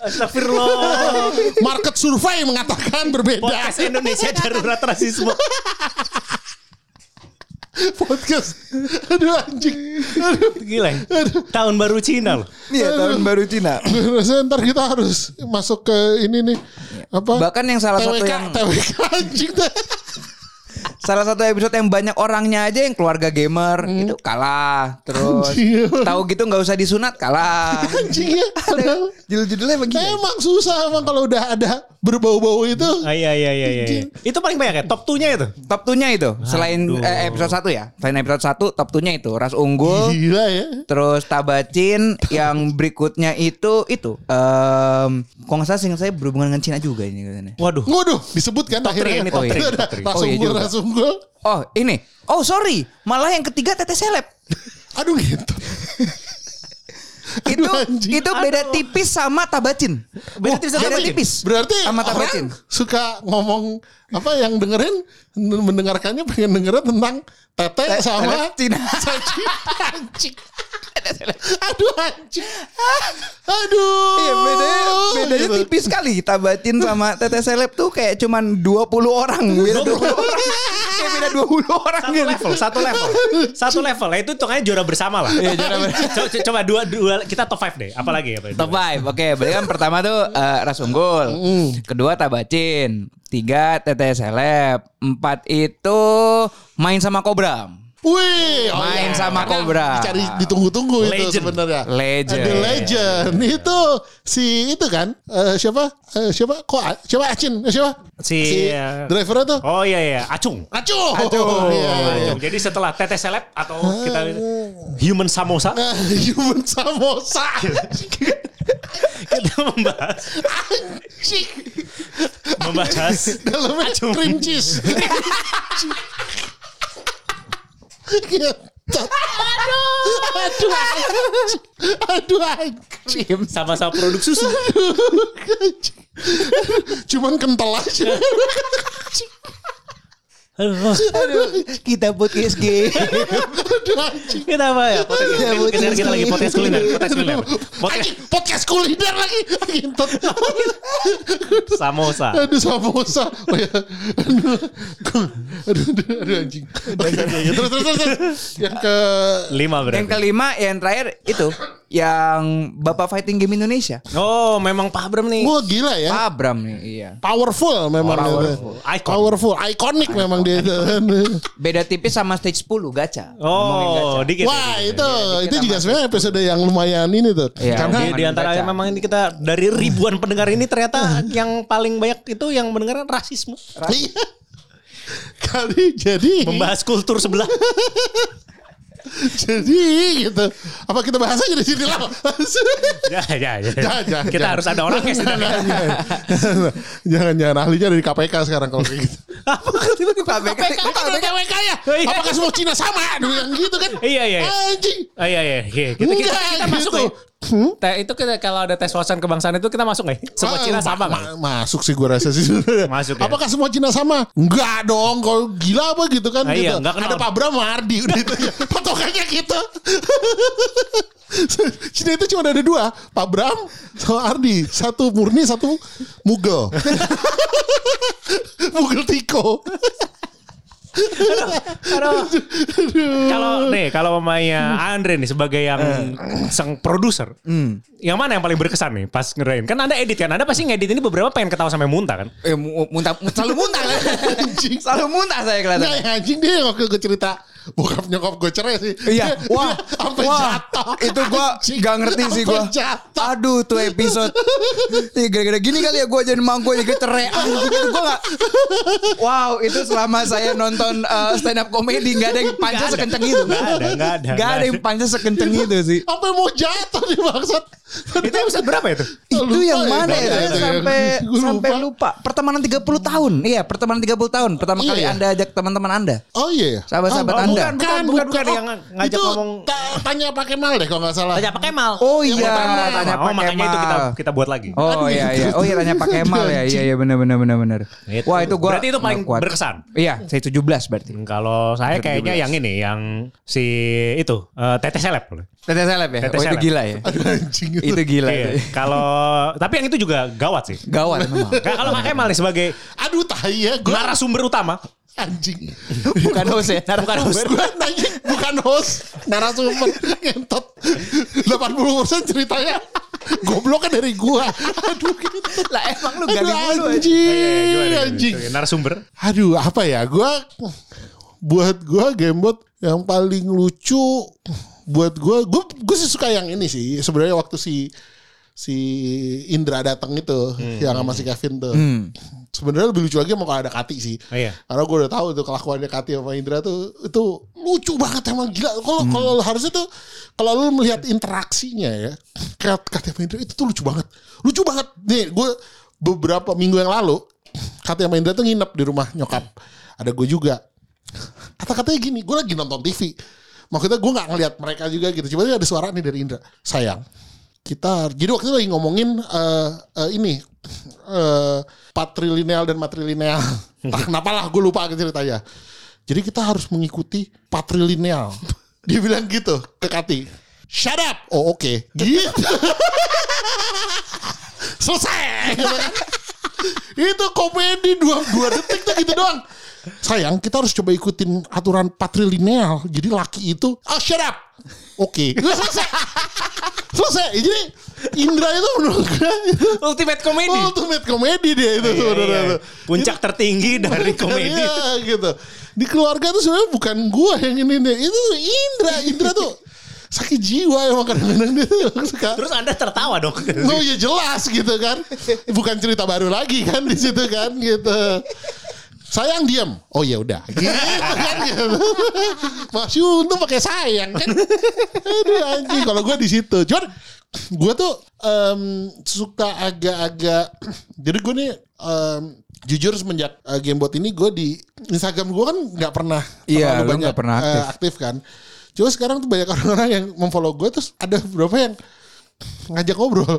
Speaker 3: Astagfirullah.
Speaker 1: market survei mengatakan berbeda
Speaker 3: Podcast Indonesia darurat rasisme.
Speaker 1: podcast aduh anjing aduh
Speaker 3: Gila. ya. Tahun baru Cina loh.
Speaker 4: Iya, tahun baru Cina.
Speaker 1: Gue rasa ntar kita harus masuk ke ini nih apa
Speaker 4: Bahkan yang salah satu
Speaker 1: TWK,
Speaker 4: yang-
Speaker 1: TWK anjing dah.
Speaker 4: Salah satu episode yang banyak orangnya aja yang keluarga gamer itu kalah. Terus
Speaker 1: Anjing.
Speaker 4: tahu gitu nggak usah disunat kalah.
Speaker 1: anjing ya padahal.
Speaker 4: Judul-judulnya begini.
Speaker 1: emang susah emang kalau udah ada berbau-bau itu
Speaker 3: Ah, iya iya iya iya. iya. Itu paling banyak ya, top 2-nya itu.
Speaker 4: Top 2-nya itu selain
Speaker 3: Aduh.
Speaker 4: eh, episode 1 ya. Selain episode 1 top 2-nya itu Ras Unggul,
Speaker 1: gila ya
Speaker 4: terus Tabacin, yang berikutnya itu itu em kok nggak salah seingat saya berhubungan dengan Cina juga ini katanya.
Speaker 3: Waduh.
Speaker 1: Waduh, disebut kan
Speaker 3: three
Speaker 1: akhirnya.
Speaker 3: ini, top
Speaker 1: Oh, iya.
Speaker 3: three,
Speaker 1: Itu ada
Speaker 3: top three.
Speaker 1: Rasung
Speaker 4: Oh, iya
Speaker 1: gua,
Speaker 4: juga.
Speaker 1: rasung gua.
Speaker 4: Oh, ini. Oh, sorry. Malah yang ketiga Tete Seleb.
Speaker 1: Aduh gitu.
Speaker 4: itu
Speaker 1: Aduh, anjing. Iya,
Speaker 4: itu beda
Speaker 3: Aduh.
Speaker 4: tipis sama tabacin.
Speaker 3: Beda tipis sama
Speaker 4: beda
Speaker 3: tabacin?
Speaker 4: tipis.
Speaker 1: Berarti
Speaker 4: sama tabacin.
Speaker 1: orang suka ngomong apa yang dengerin n- mendengarkannya pengen dengerin tentang tete sama
Speaker 4: Cina.
Speaker 1: Saji. anjing. Aduh anjing. Aduh.
Speaker 4: Iya bedanya, bedanya
Speaker 1: Gitu.
Speaker 4: tipis sekali Tabatin sama Tete Seleb tuh kayak cuman 20 orang Beda 20 orang Kayak beda 20 orang
Speaker 3: Satu
Speaker 4: gitu.
Speaker 3: level, satu level, satu level. Nah, itu hitungannya juara bersama lah. Iya, juara Coba dua, dua, kita top 5 deh. Apalagi ya?
Speaker 4: Top five. Oke, berarti kan pertama tuh eh, Ras Unggul. Kedua Tabacin. Tiga Tete Seleb. Empat itu main sama Kobra.
Speaker 1: Wih, oh iya.
Speaker 4: Main sama
Speaker 1: Karena
Speaker 4: Cobra.
Speaker 1: Dicari ditunggu-tunggu itu
Speaker 3: Legend.
Speaker 1: sebenarnya.
Speaker 4: Legend.
Speaker 1: The legend itu si itu kan eh, siapa? Eh, siapa? Kok A- siapa Acin? Eh, Siapa?
Speaker 3: Si-
Speaker 1: drivernya tuh.
Speaker 3: Oh iya iya, acung.
Speaker 1: Acuh.
Speaker 3: Oh,
Speaker 1: Iya, iya. Ah.
Speaker 3: acung. Jadi setelah tete seleb atau kita human samosa
Speaker 1: Nah, human samosa.
Speaker 3: kita membahas
Speaker 1: Anjing.
Speaker 3: membahas
Speaker 1: Dalamnya cream cheese. Iya. Gitu. Aduh. Aduh. Aduh. anjing.
Speaker 3: sama-sama produk susu.
Speaker 1: Cuman kental aja.
Speaker 3: Aduh,
Speaker 4: Kita E podcast game.
Speaker 1: Aduh anjing.
Speaker 3: Kenapa ya? Podcast
Speaker 1: Ya,
Speaker 3: kuliner. Kita- kita lagi podcast kuliner, podcast kuliner. Podcast
Speaker 1: Anjing, podcast kuliner lagi. Gintot.
Speaker 3: samosa.
Speaker 1: Aduh samosa. Oh, ya. Aduh. Aduh, aduh, aduh, anjing. Oke, oke, oke.
Speaker 3: gitu.
Speaker 1: Terus, terus, terus, terus. Yang ke
Speaker 3: Lima
Speaker 4: yang
Speaker 3: berarti.
Speaker 4: kelima, yang terakhir itu. Yang Bapak Fighting Game Indonesia.
Speaker 3: Oh, memang Pak Abram nih.
Speaker 1: Wah gila ya.
Speaker 4: Pak Abram nih, iya.
Speaker 1: Powerful memang. dia.
Speaker 3: Ah. Powerful. Iya, Icon.
Speaker 1: Powerful. Iconic memang dia.
Speaker 4: Beda tipis sama stage 10 gacha. Ngomongin gacha.
Speaker 3: Oh, dikit.
Speaker 1: Wah
Speaker 3: dikit.
Speaker 1: itu itu
Speaker 3: iya,
Speaker 1: juga sebenarnya episode yang lumayan ini tuh.
Speaker 4: Iya.
Speaker 1: Karena
Speaker 3: Di, di antara
Speaker 4: Baca.
Speaker 3: memang ini kita dari ribuan pendengar ini ternyata yang paling banyak itu yang mendengar rasisme.
Speaker 1: Iya. kali jadi
Speaker 3: Membahas kultur sebelah.
Speaker 1: jadi gitu. Apa kita bahas aja di sini lah.
Speaker 3: ya, ya, Nah, ya.
Speaker 1: Jangan, jangan,
Speaker 3: kita
Speaker 1: jangan.
Speaker 3: harus ada orang yang sedang
Speaker 1: jangan, jangan. jangan jangan nah, ahlinya dari KPK sekarang kalau kayak gitu.
Speaker 3: apa tiba-tiba
Speaker 4: Pak BK.
Speaker 1: KPK kan udah KPK ya.
Speaker 3: Oh, iya.
Speaker 1: Apakah semua Cina sama? Dulu yang gitu kan.
Speaker 3: Iya, iya.
Speaker 1: Anjing.
Speaker 3: Oh iya iya, iya. Kita, kita,
Speaker 1: Enggak,
Speaker 3: kita masuk
Speaker 1: gitu.
Speaker 3: ya. Te- itu kita, kalau ada tes wawasan kebangsaan itu kita masuk nggak? ya? Semua
Speaker 1: Ah,
Speaker 3: Cina
Speaker 1: ma-
Speaker 3: sama nggak?
Speaker 1: ma- Masuk sih gue rasa sih. sebenarnya.
Speaker 3: Masuk ya.
Speaker 1: Apakah semua Cina sama? Enggak dong. Kalau gila apa gitu kan.
Speaker 3: Ah,
Speaker 1: gitu.
Speaker 3: iya, nggak kenal.
Speaker 1: Ada Pak Bram sama Ardi. Udah itu aja. Patokannya gitu. Cina itu cuma ada dua. Pak Bram sama Ardi. Satu murni, satu Mugel. Mugel Tiko.
Speaker 3: Aduh. Kalau nih, kalau mamanya Andre nih sebagai yang sang produser, yang mana yang paling berkesan nih pas ngerain? Kan anda edit kan, anda pasti ngedit ini beberapa pengen ketawa sampai muntah kan?
Speaker 4: Eh, mu- muntah, selalu muntah. selalu muntah saya
Speaker 1: Nggak,
Speaker 4: kelihatan.
Speaker 1: ya, anjing dia yang waktu gue cerita bokap nyokap gue cerai sih. Dia-
Speaker 4: Iya, wah,
Speaker 1: dia sampai
Speaker 4: wah,
Speaker 1: jatuh.
Speaker 4: itu gua
Speaker 1: Anjing.
Speaker 4: nggak ngerti sih gua.
Speaker 1: Sampai jatuh.
Speaker 4: Aduh, tuh episode. Ih, Gara-gara gini kali ya gua jadi mang gua jadi cerai anjing itu gua nggak. Wow, itu selama saya nonton eh, stand up comedy nggak ada yang
Speaker 3: Nggak
Speaker 4: panjang
Speaker 3: ada.
Speaker 4: sekenceng itu.
Speaker 3: Nggak ada, nggak ada,
Speaker 4: Nggak ada
Speaker 3: nggak
Speaker 4: yang
Speaker 3: ada.
Speaker 4: panjang sekenceng itu sih.
Speaker 1: Sampai mau jatuh nih maksud.
Speaker 3: Itu episode berapa itu?
Speaker 4: Itu
Speaker 1: Lupa
Speaker 4: yang
Speaker 1: ya,
Speaker 4: mana ya?
Speaker 1: nggak
Speaker 4: Saya
Speaker 1: ada.
Speaker 4: sampai
Speaker 1: Gua lupa.
Speaker 4: sampai lupa. Pertemanan 30 tahun. Iya, pertemanan 30 tahun. Pertama kali
Speaker 1: Iya.
Speaker 4: Anda ajak teman-teman Anda.
Speaker 1: Oh iya.
Speaker 4: Sahabat-sahabat
Speaker 1: oh,
Speaker 4: Anda.
Speaker 1: Bukan, bukan, bukan,
Speaker 3: bukan yang ngajak
Speaker 1: itu
Speaker 3: ngomong.
Speaker 1: ta- tanya pakai mal deh kalau nggak salah.
Speaker 3: Tanya Pak Kemal.
Speaker 4: Oh
Speaker 1: Yang
Speaker 4: iya,
Speaker 1: pertama.
Speaker 4: tanya
Speaker 3: Oh,
Speaker 4: Pak
Speaker 3: makanya itu kita
Speaker 4: Kemal.
Speaker 3: kita buat lagi.
Speaker 4: Oh
Speaker 1: Aduh,
Speaker 4: iya
Speaker 1: gitu.
Speaker 4: iya. Oh iya tanya Pak Kemal ya. Iya iya benar benar benar benar.
Speaker 3: Gitu.
Speaker 4: Wah itu gua
Speaker 3: Berarti itu paling
Speaker 4: nggak kuat.
Speaker 3: berkesan.
Speaker 4: Iya, saya 17 berarti.
Speaker 3: Kalau saya
Speaker 4: Episode
Speaker 3: kayaknya
Speaker 4: 17.
Speaker 3: yang ini, yang si itu eh, Tete Seleb.
Speaker 4: Tete seleb ya.
Speaker 3: Tete
Speaker 4: oh itu
Speaker 3: seleb.
Speaker 4: gila ya.
Speaker 1: Aduh anjing itu.
Speaker 4: itu gila.
Speaker 3: Iya.
Speaker 4: itu.
Speaker 3: Kalau tapi yang itu juga gawat sih.
Speaker 4: Gawat memang.
Speaker 3: Nah, kalau Pak Kemal nih sebagai
Speaker 1: Aduh tai ya gue
Speaker 3: narasumber utama,
Speaker 1: anjing.
Speaker 4: Bukan host ya. Bukan
Speaker 1: Host gue nanya bukan host narasumber ngentot 80% ceritanya gobloknya dari gua. Aduh gitu.
Speaker 4: Lah emang lu gali
Speaker 1: Aduh
Speaker 4: mulu aja.
Speaker 3: Eh,
Speaker 1: anjing,
Speaker 3: gimana nih?
Speaker 1: Iya, anjing.
Speaker 3: narasumber.
Speaker 1: Aduh, apa ya? Gua buat gua gamebot yang paling lucu buat gua gua gua sih suka yang ini sih. Sebenarnya waktu si si Indra datang itu
Speaker 3: Hmm.
Speaker 1: yang sama si Kevin tuh. Sebenarnya lebih lucu lagi emang kalau ada Kati sih.
Speaker 3: Oh, iya.
Speaker 1: Karena gue udah tahu tuh kelakuannya Kati sama Indra tuh itu lucu banget emang gila. Kalau kalau harusnya tuh kalau lu melihat interaksinya ya Kat- Kati sama Indra itu tuh lucu banget. Lucu banget. Nih gue beberapa minggu yang lalu Kati sama Indra tuh nginep di rumah nyokap. Ada gue juga. Kata-katanya gini, gue lagi nonton TV. maksudnya gue nggak ngelihat mereka juga gitu cuma ada suara nih dari Indra sayang kita jadi waktu itu lagi ngomongin eh, eh, ini eh, patrilineal dan matrilineal tak kenapa lah gue lupa ceritanya jadi kita harus mengikuti patrilineal dia bilang gitu ke Kati shut up oh oke gitu selesai gitu kan. itu komedi dua, dua detik tuh gitu doang sayang kita harus coba ikutin aturan patrilineal jadi laki itu oh shut up oke Udah selesai selesai jadi Indra itu menurut gue itu
Speaker 3: Ultimate comedy.
Speaker 1: ultimate komedi dia itu
Speaker 3: Iya,
Speaker 1: sebenarnya
Speaker 3: iya.
Speaker 1: tuh.
Speaker 3: Puncak tertinggi dari komedi.
Speaker 1: Iya, gitu di keluarga tuh sebenarnya bukan gue yang ini deh itu tuh Indra Indra tuh sakit jiwa emang kadang-kadang dia tuh suka
Speaker 3: Terus Anda tertawa dong.
Speaker 1: Oh ya jelas gitu kan. Bukan cerita baru lagi kan di situ kan gitu. Sayang diam. Oh ya udah. Gitu kan gitu. Masih untung pakai sayang kan. Aduh anjing kalau gue di situ. Cuman gue tuh em, suka agak-agak jadi gue nih em, jujur semenjak eh, gamebot ini gue di Instagram gue kan nggak pernah
Speaker 4: Iya,
Speaker 1: terlalu
Speaker 4: lu nggak pernah
Speaker 1: eh,
Speaker 4: aktif.
Speaker 1: aktif kan. Cuma sekarang tuh banyak orang-orang yang memfollow gue terus ada beberapa yang ngajak ngobrol.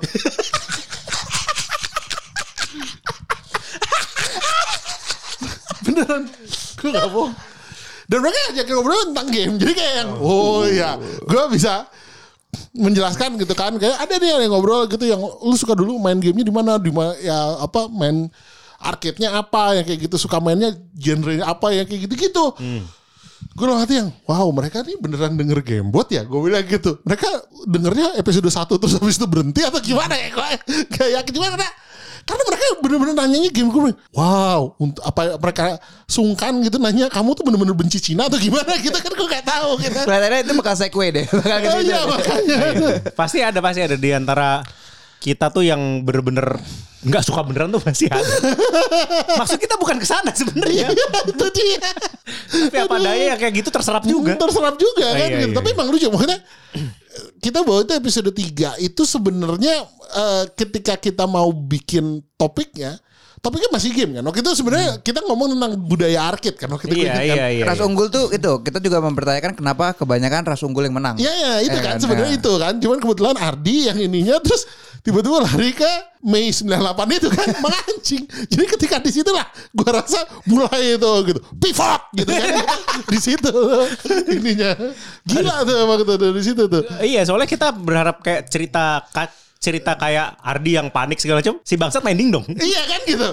Speaker 1: Beneran, gue gak bohong. Dan mereka ngajak ngobrol tentang game. Jadi kayak yang, oh iya, gue bisa menjelaskan gitu kan kayak ada nih yang ngobrol gitu yang lu suka dulu main gamenya di mana di ma- ya apa main arcade-nya apa yang kayak gitu suka mainnya genre apa yang kayak gitu gitu gue loh hati yang wow mereka nih beneran denger gamebot ya gue bilang gitu mereka dengernya episode 1 terus habis itu berhenti atau gimana ya gue gak yakin juga karena karena mereka bener-bener nanyanya game gue wow untuk apa mereka sungkan gitu nanya kamu tuh bener-bener benci Cina atau gimana gitu kan gue gak tahu gitu
Speaker 4: Kelihatannya itu bakal segue deh. Bakal ke
Speaker 1: oh
Speaker 4: situ.
Speaker 1: iya makanya
Speaker 3: pasti ada pasti ada di antara kita tuh yang bener-bener nggak suka beneran tuh pasti ada. Maksud kita bukan ke sana sebenarnya.
Speaker 1: itu dia.
Speaker 3: Tapi apa daya yang kayak gitu terserap juga.
Speaker 1: Terserap juga
Speaker 3: Ah,
Speaker 1: kan.
Speaker 3: iya,
Speaker 1: gitu.
Speaker 3: iya,
Speaker 1: Tapi
Speaker 3: iya.
Speaker 1: emang lucu. Maksudnya kita bawa itu episode 3 itu sebenarnya eh, ketika kita mau bikin topiknya. Topiknya masih game kan. Waktu itu sebenarnya kita ngomong tentang budaya arcade kan. Waktu itu gue
Speaker 3: Hmm. Iya,
Speaker 1: ingat kan.
Speaker 3: iya, iya.
Speaker 4: Ras unggul tuh itu kita juga mempertanyakan kenapa kebanyakan ras unggul yang menang.
Speaker 1: Iya ya itu
Speaker 4: Eh,
Speaker 1: kan
Speaker 4: kan,
Speaker 1: sebenarnya
Speaker 4: nah.
Speaker 1: itu kan. Cuman kebetulan Ardi yang ininya terus tiba-tiba lari ke Mei 98 itu kan mengancing. Jadi ketika di situlah gua rasa mulai itu gitu. Pivot gitu kan. di situ ininya. Gila tuh emang tuh tuh, di situ tuh.
Speaker 3: Iya, soalnya kita berharap kayak cerita ka- cerita kayak Ardi yang panik segala macam, si bangsat main dong.
Speaker 1: Iya kan gitu.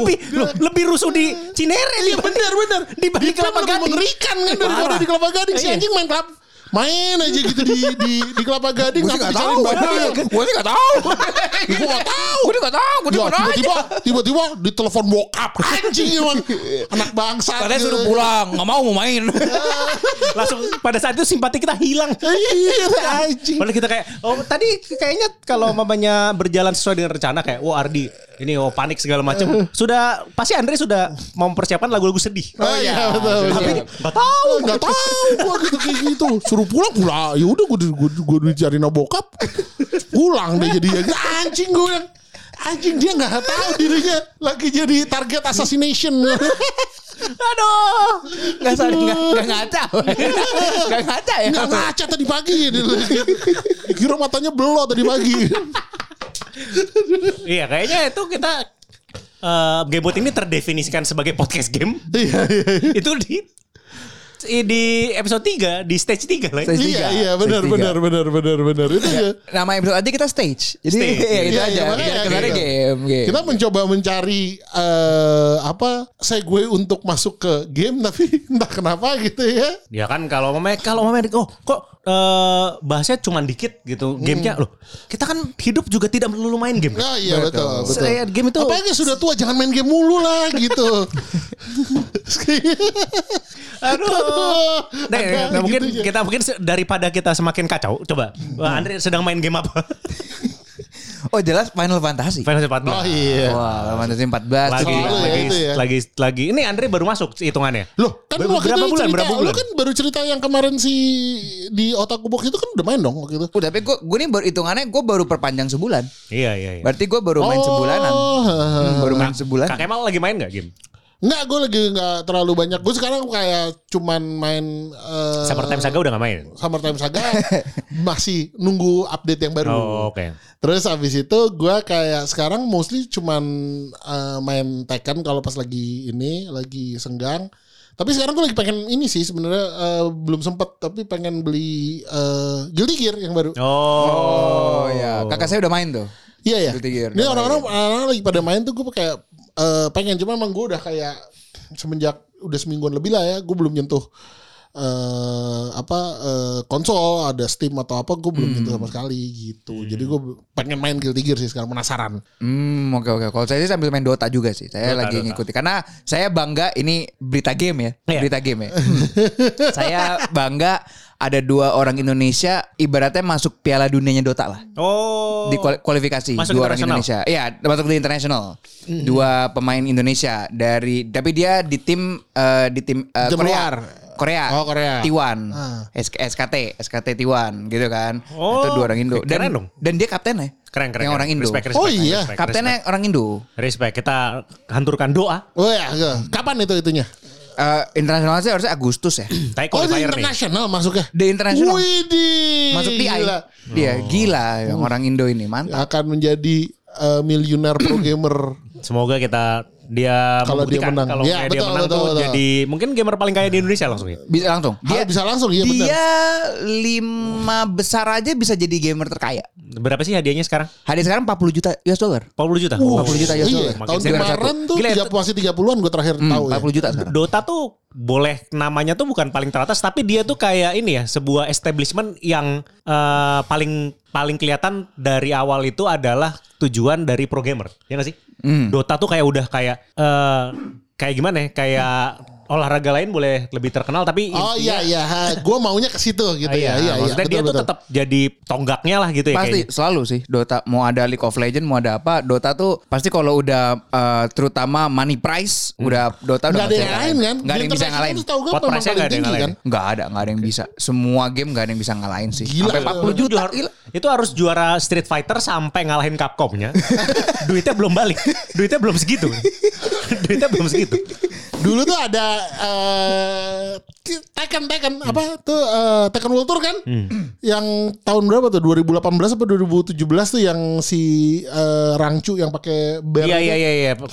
Speaker 3: Lebih lu- lebih rusuh di Cinere
Speaker 1: Iya benar benar.
Speaker 3: Di balik
Speaker 1: Di Kelapa
Speaker 3: Kelapa
Speaker 1: lebih
Speaker 3: Gading.
Speaker 1: mengerikan kan daripada
Speaker 3: Parah.
Speaker 1: di Kelapa Gading si
Speaker 3: Iya.
Speaker 1: anjing main kelapa main aja gitu di di di Kelapa Gading
Speaker 4: Gue sih
Speaker 1: nggak
Speaker 4: gak tau.
Speaker 1: Eh,
Speaker 4: Gue sih gak tau. Gue gak tau. Gue gak tau. Gue
Speaker 1: Ya,
Speaker 4: gak tau.
Speaker 1: tiba-tiba tiba-tiba ditelepon bokap anjing emang anak gitu. bangsa
Speaker 4: Katanya suruh pulang, nggak mau mau main.
Speaker 3: langsung pada saat itu simpati kita hilang.
Speaker 1: iya anjing
Speaker 3: Padahal kita kayak oh tadi kayaknya kalau mamanya berjalan sesuai dengan rencana kayak wah Ardi ini oh panik segala
Speaker 1: Eh.
Speaker 3: macam. Sudah pasti Andre sudah mempersiapkan lagu-lagu sedih.
Speaker 1: Oh iya, betul, betul.
Speaker 3: Tapi enggak tahu.
Speaker 1: Oh, nggak tahu gua gitu kayak gitu suruh pulang pulang ya udah gua di- gua gua dicariin sama bokap pulang deh jadi ya anjing gua bilang, anjing dia nggak tahu dirinya lagi jadi target assassination
Speaker 4: Aduh, nggak sadar, nggak nggak ngaca, nggak ngaca ya.
Speaker 1: nggak ngaca tadi pagi dia bilang gitu. kira matanya belok tadi pagi
Speaker 3: Iya, kayaknya itu kita eh Gamebot ini terdefinisikan sebagai podcast game.
Speaker 1: iya iya iya.
Speaker 3: itu di di episode 3, di stage 3 lah. ya.
Speaker 4: Stage-
Speaker 1: iya iya benar
Speaker 4: Tiga.
Speaker 1: benar benar benar benar itu ya.
Speaker 4: Nama episode aja kita stage, jadi
Speaker 3: Stage.
Speaker 4: ya, gitu
Speaker 1: Iya,
Speaker 4: aja.
Speaker 1: iya,
Speaker 4: Kita
Speaker 1: makanya
Speaker 4: kenalnya
Speaker 1: gitu.
Speaker 4: game, game.
Speaker 1: Kita mencoba mencari eh apa segue untuk masuk ke game tapi entah kenapa gitu ya.
Speaker 3: Ya kan kalau mamanya kalau mamanya oh kok eh, bahasnya cuma dikit gitu gamenya
Speaker 1: Hmm.
Speaker 3: loh kita kan hidup juga tidak melulu main game kan?
Speaker 1: Oh iya betul, betul.
Speaker 3: Saya- game itu-
Speaker 1: Apalagi sudah tua jangan main game mulu lah gitu.
Speaker 3: aduh
Speaker 1: Ada gitu ya.
Speaker 3: nah, nah, mungkin
Speaker 1: gitunya.
Speaker 3: kita mungkin se- daripada kita semakin kacau coba
Speaker 1: Hmm.
Speaker 3: Wah, Andre sedang main game apa
Speaker 4: Oh jelas Final Fantasy.
Speaker 3: Final Fantasy 14
Speaker 1: Oh iya.
Speaker 4: Wah, Final Fantasy 14.
Speaker 3: lagi
Speaker 1: Selalu ya,
Speaker 3: lagi,
Speaker 1: itu ya.
Speaker 3: lagi lagi ini Andre baru masuk hitungannya
Speaker 1: Loh, kan
Speaker 3: Ber-
Speaker 1: waktu
Speaker 3: berapa
Speaker 1: itu
Speaker 3: bulan,
Speaker 1: cerita,
Speaker 3: berapa bulan?
Speaker 1: lu kan baru cerita yang kemarin si di otak kubok itu kan udah main dong waktu itu.
Speaker 4: Udah, tapi gue gue nih baru hitungannya gue baru perpanjang sebulan.
Speaker 3: iya iya, iya.
Speaker 4: Berarti gue baru main
Speaker 1: Oh,
Speaker 4: sebulanan.
Speaker 1: heeh.
Speaker 4: Hmm, baru main sebulan.
Speaker 3: Kak Kemal lagi main gak game
Speaker 1: Nggak, gue lagi nggak terlalu banyak. Gue sekarang kayak cuman main eh,
Speaker 3: Summertime Saga udah gak main?
Speaker 1: Summertime Saga masih nunggu update yang baru.
Speaker 3: Oh, oke.
Speaker 1: Terus abis itu gue kayak sekarang mostly cuman eh, main Tekken kalau pas lagi ini lagi senggang. Tapi sekarang gue lagi pengen ini sih sebenarnya eh, belum sempet tapi pengen beli eh, Guilty Gear yang baru.
Speaker 3: Oh,
Speaker 4: Oh ya, kakak saya udah main tuh.
Speaker 1: Iya ya.
Speaker 4: Guilty Gear, Nah, iya.
Speaker 1: Ini
Speaker 4: udah
Speaker 1: orang-orang orang lagi pada main tuh gue kayak eh, pengen cuma emang gue udah kayak semenjak udah semingguan lebih lah ya gue belum nyentuh eh apa eh, konsol ada Steam atau apa gue belum nyentuh sama
Speaker 4: Hmm.
Speaker 1: sekali gitu. Jadi gue pengen main Guilty Gear sih sekarang penasaran.
Speaker 4: Hmm, oke oke. Kalau saya sih sambil main Dota juga sih. Saya
Speaker 3: Dota,
Speaker 4: lagi
Speaker 3: Dota.
Speaker 4: ngikuti karena saya bangga ini berita game ya,
Speaker 3: Iya.
Speaker 4: berita game ya. Hmm. saya bangga ada dua orang Indonesia ibaratnya masuk Piala Dunianya Dota lah.
Speaker 3: Oh.
Speaker 4: di kuali- kualifikasi
Speaker 3: Masuk
Speaker 4: dua orang
Speaker 3: internasional.
Speaker 4: Indonesia. Iya, masuk di internasional. Dua pemain Indonesia dari tapi dia di tim eh, di tim eh,
Speaker 1: Tim
Speaker 4: Korea.
Speaker 1: luar.
Speaker 4: Korea.
Speaker 1: Oh, Korea.
Speaker 4: T1.
Speaker 1: Ah.
Speaker 4: SK SKT, SKT T1 gitu kan.
Speaker 3: Oh,
Speaker 4: Itu dua orang Indo. Dan
Speaker 3: keren dong.
Speaker 4: dan dia kapten ya.
Speaker 3: Keren, keren.
Speaker 4: Yang
Speaker 3: keren.
Speaker 4: orang Indo.
Speaker 3: Respect, respect,
Speaker 1: Oh, iya.
Speaker 3: Respect,
Speaker 4: Kaptennya
Speaker 3: respect.
Speaker 4: orang Indo.
Speaker 3: Respect. Kita hanturkan doa.
Speaker 1: Oh ya, ke-
Speaker 4: Hmm.
Speaker 1: kapan itu itunya?
Speaker 4: Eh internasional sih harusnya Agustus ya.
Speaker 3: Tapi
Speaker 1: Oh, itu
Speaker 3: qualifier nih.
Speaker 1: internasional masuknya.
Speaker 4: Di internasional.
Speaker 1: Widih.
Speaker 4: Masuk TI.
Speaker 1: gila.
Speaker 4: Dia gila yang orang Indo ini. Mantap.
Speaker 1: Akan menjadi eh, miliuner pro gamer.
Speaker 3: Semoga kita dia
Speaker 1: Kalau dia
Speaker 3: membuktikan
Speaker 1: menang.
Speaker 3: kalau
Speaker 1: Iya,
Speaker 3: dia
Speaker 1: betul,
Speaker 3: menang
Speaker 1: betul,
Speaker 3: tuh
Speaker 1: betul.
Speaker 3: jadi mungkin gamer paling kaya di Indonesia langsung ya.
Speaker 4: Bisa langsung.
Speaker 1: Dia, bisa langsung iya benar.
Speaker 4: dia lima besar aja bisa jadi gamer terkaya.
Speaker 3: Berapa sih hadiahnya sekarang?
Speaker 4: Hadiah sekarang 40 juta US dollar.
Speaker 3: 40 juta.
Speaker 4: 40 juta ya,
Speaker 1: Iya,
Speaker 4: soalnya.
Speaker 3: Makin
Speaker 1: tahun
Speaker 3: serius.
Speaker 1: kemarin tuh
Speaker 3: Gila,
Speaker 1: 30, masih 30-an gue terakhir
Speaker 4: Hmm,
Speaker 1: tahu ya.
Speaker 4: 40 juta sekarang.
Speaker 3: Dota tuh boleh namanya tuh bukan paling teratas tapi dia tuh kayak ini ya sebuah establishment yang eh, paling paling kelihatan dari awal itu adalah tujuan dari pro gamer ya gak sih Dota tuh kayak udah kayak eh, kayak gimana ya kayak olahraga lain boleh lebih terkenal tapi
Speaker 1: Oh iya iya, gue maunya ke situ gitu ya. Iya iya.
Speaker 3: Ah, maksudnya dia
Speaker 1: betul,
Speaker 3: tuh
Speaker 1: betul.
Speaker 3: tetap jadi tonggaknya lah gitu ya
Speaker 4: Pasti
Speaker 3: kayaknya.
Speaker 4: selalu sih Dota mau ada League of Legends mau ada apa Dota tuh pasti kalau udah eh, terutama money prize udah Dota
Speaker 1: Nggak
Speaker 4: udah
Speaker 1: ada yang lain kan?
Speaker 4: Gak ada yang bisa ngalahin.
Speaker 1: Tahu gue
Speaker 3: Pot
Speaker 1: memang
Speaker 3: price-nya
Speaker 1: paling
Speaker 3: nggak ada yang
Speaker 1: tinggi kan.
Speaker 3: ngalahin.
Speaker 4: Nggak ada, nggak ada yang bisa. Semua game nggak ada yang bisa ngalahin sih.
Speaker 1: Gila.
Speaker 4: Sampai 40
Speaker 3: Itu
Speaker 4: juta.
Speaker 3: har-
Speaker 4: Gila.
Speaker 3: Itu harus juara Street Fighter sampai ngalahin Capcomnya. Duitnya belum balik. Duitnya belum segitu. Duitnya belum segitu.
Speaker 1: Dulu tuh ada eh Tekken Tekken
Speaker 3: Hmm.
Speaker 1: apa tuh eh, Tekken World Tour kan? Yang tahun berapa tuh? 2018 apa 2017 tuh yang si eh, Rangcu yang pakai bear
Speaker 3: Iya
Speaker 1: itu.
Speaker 3: iya iya iya.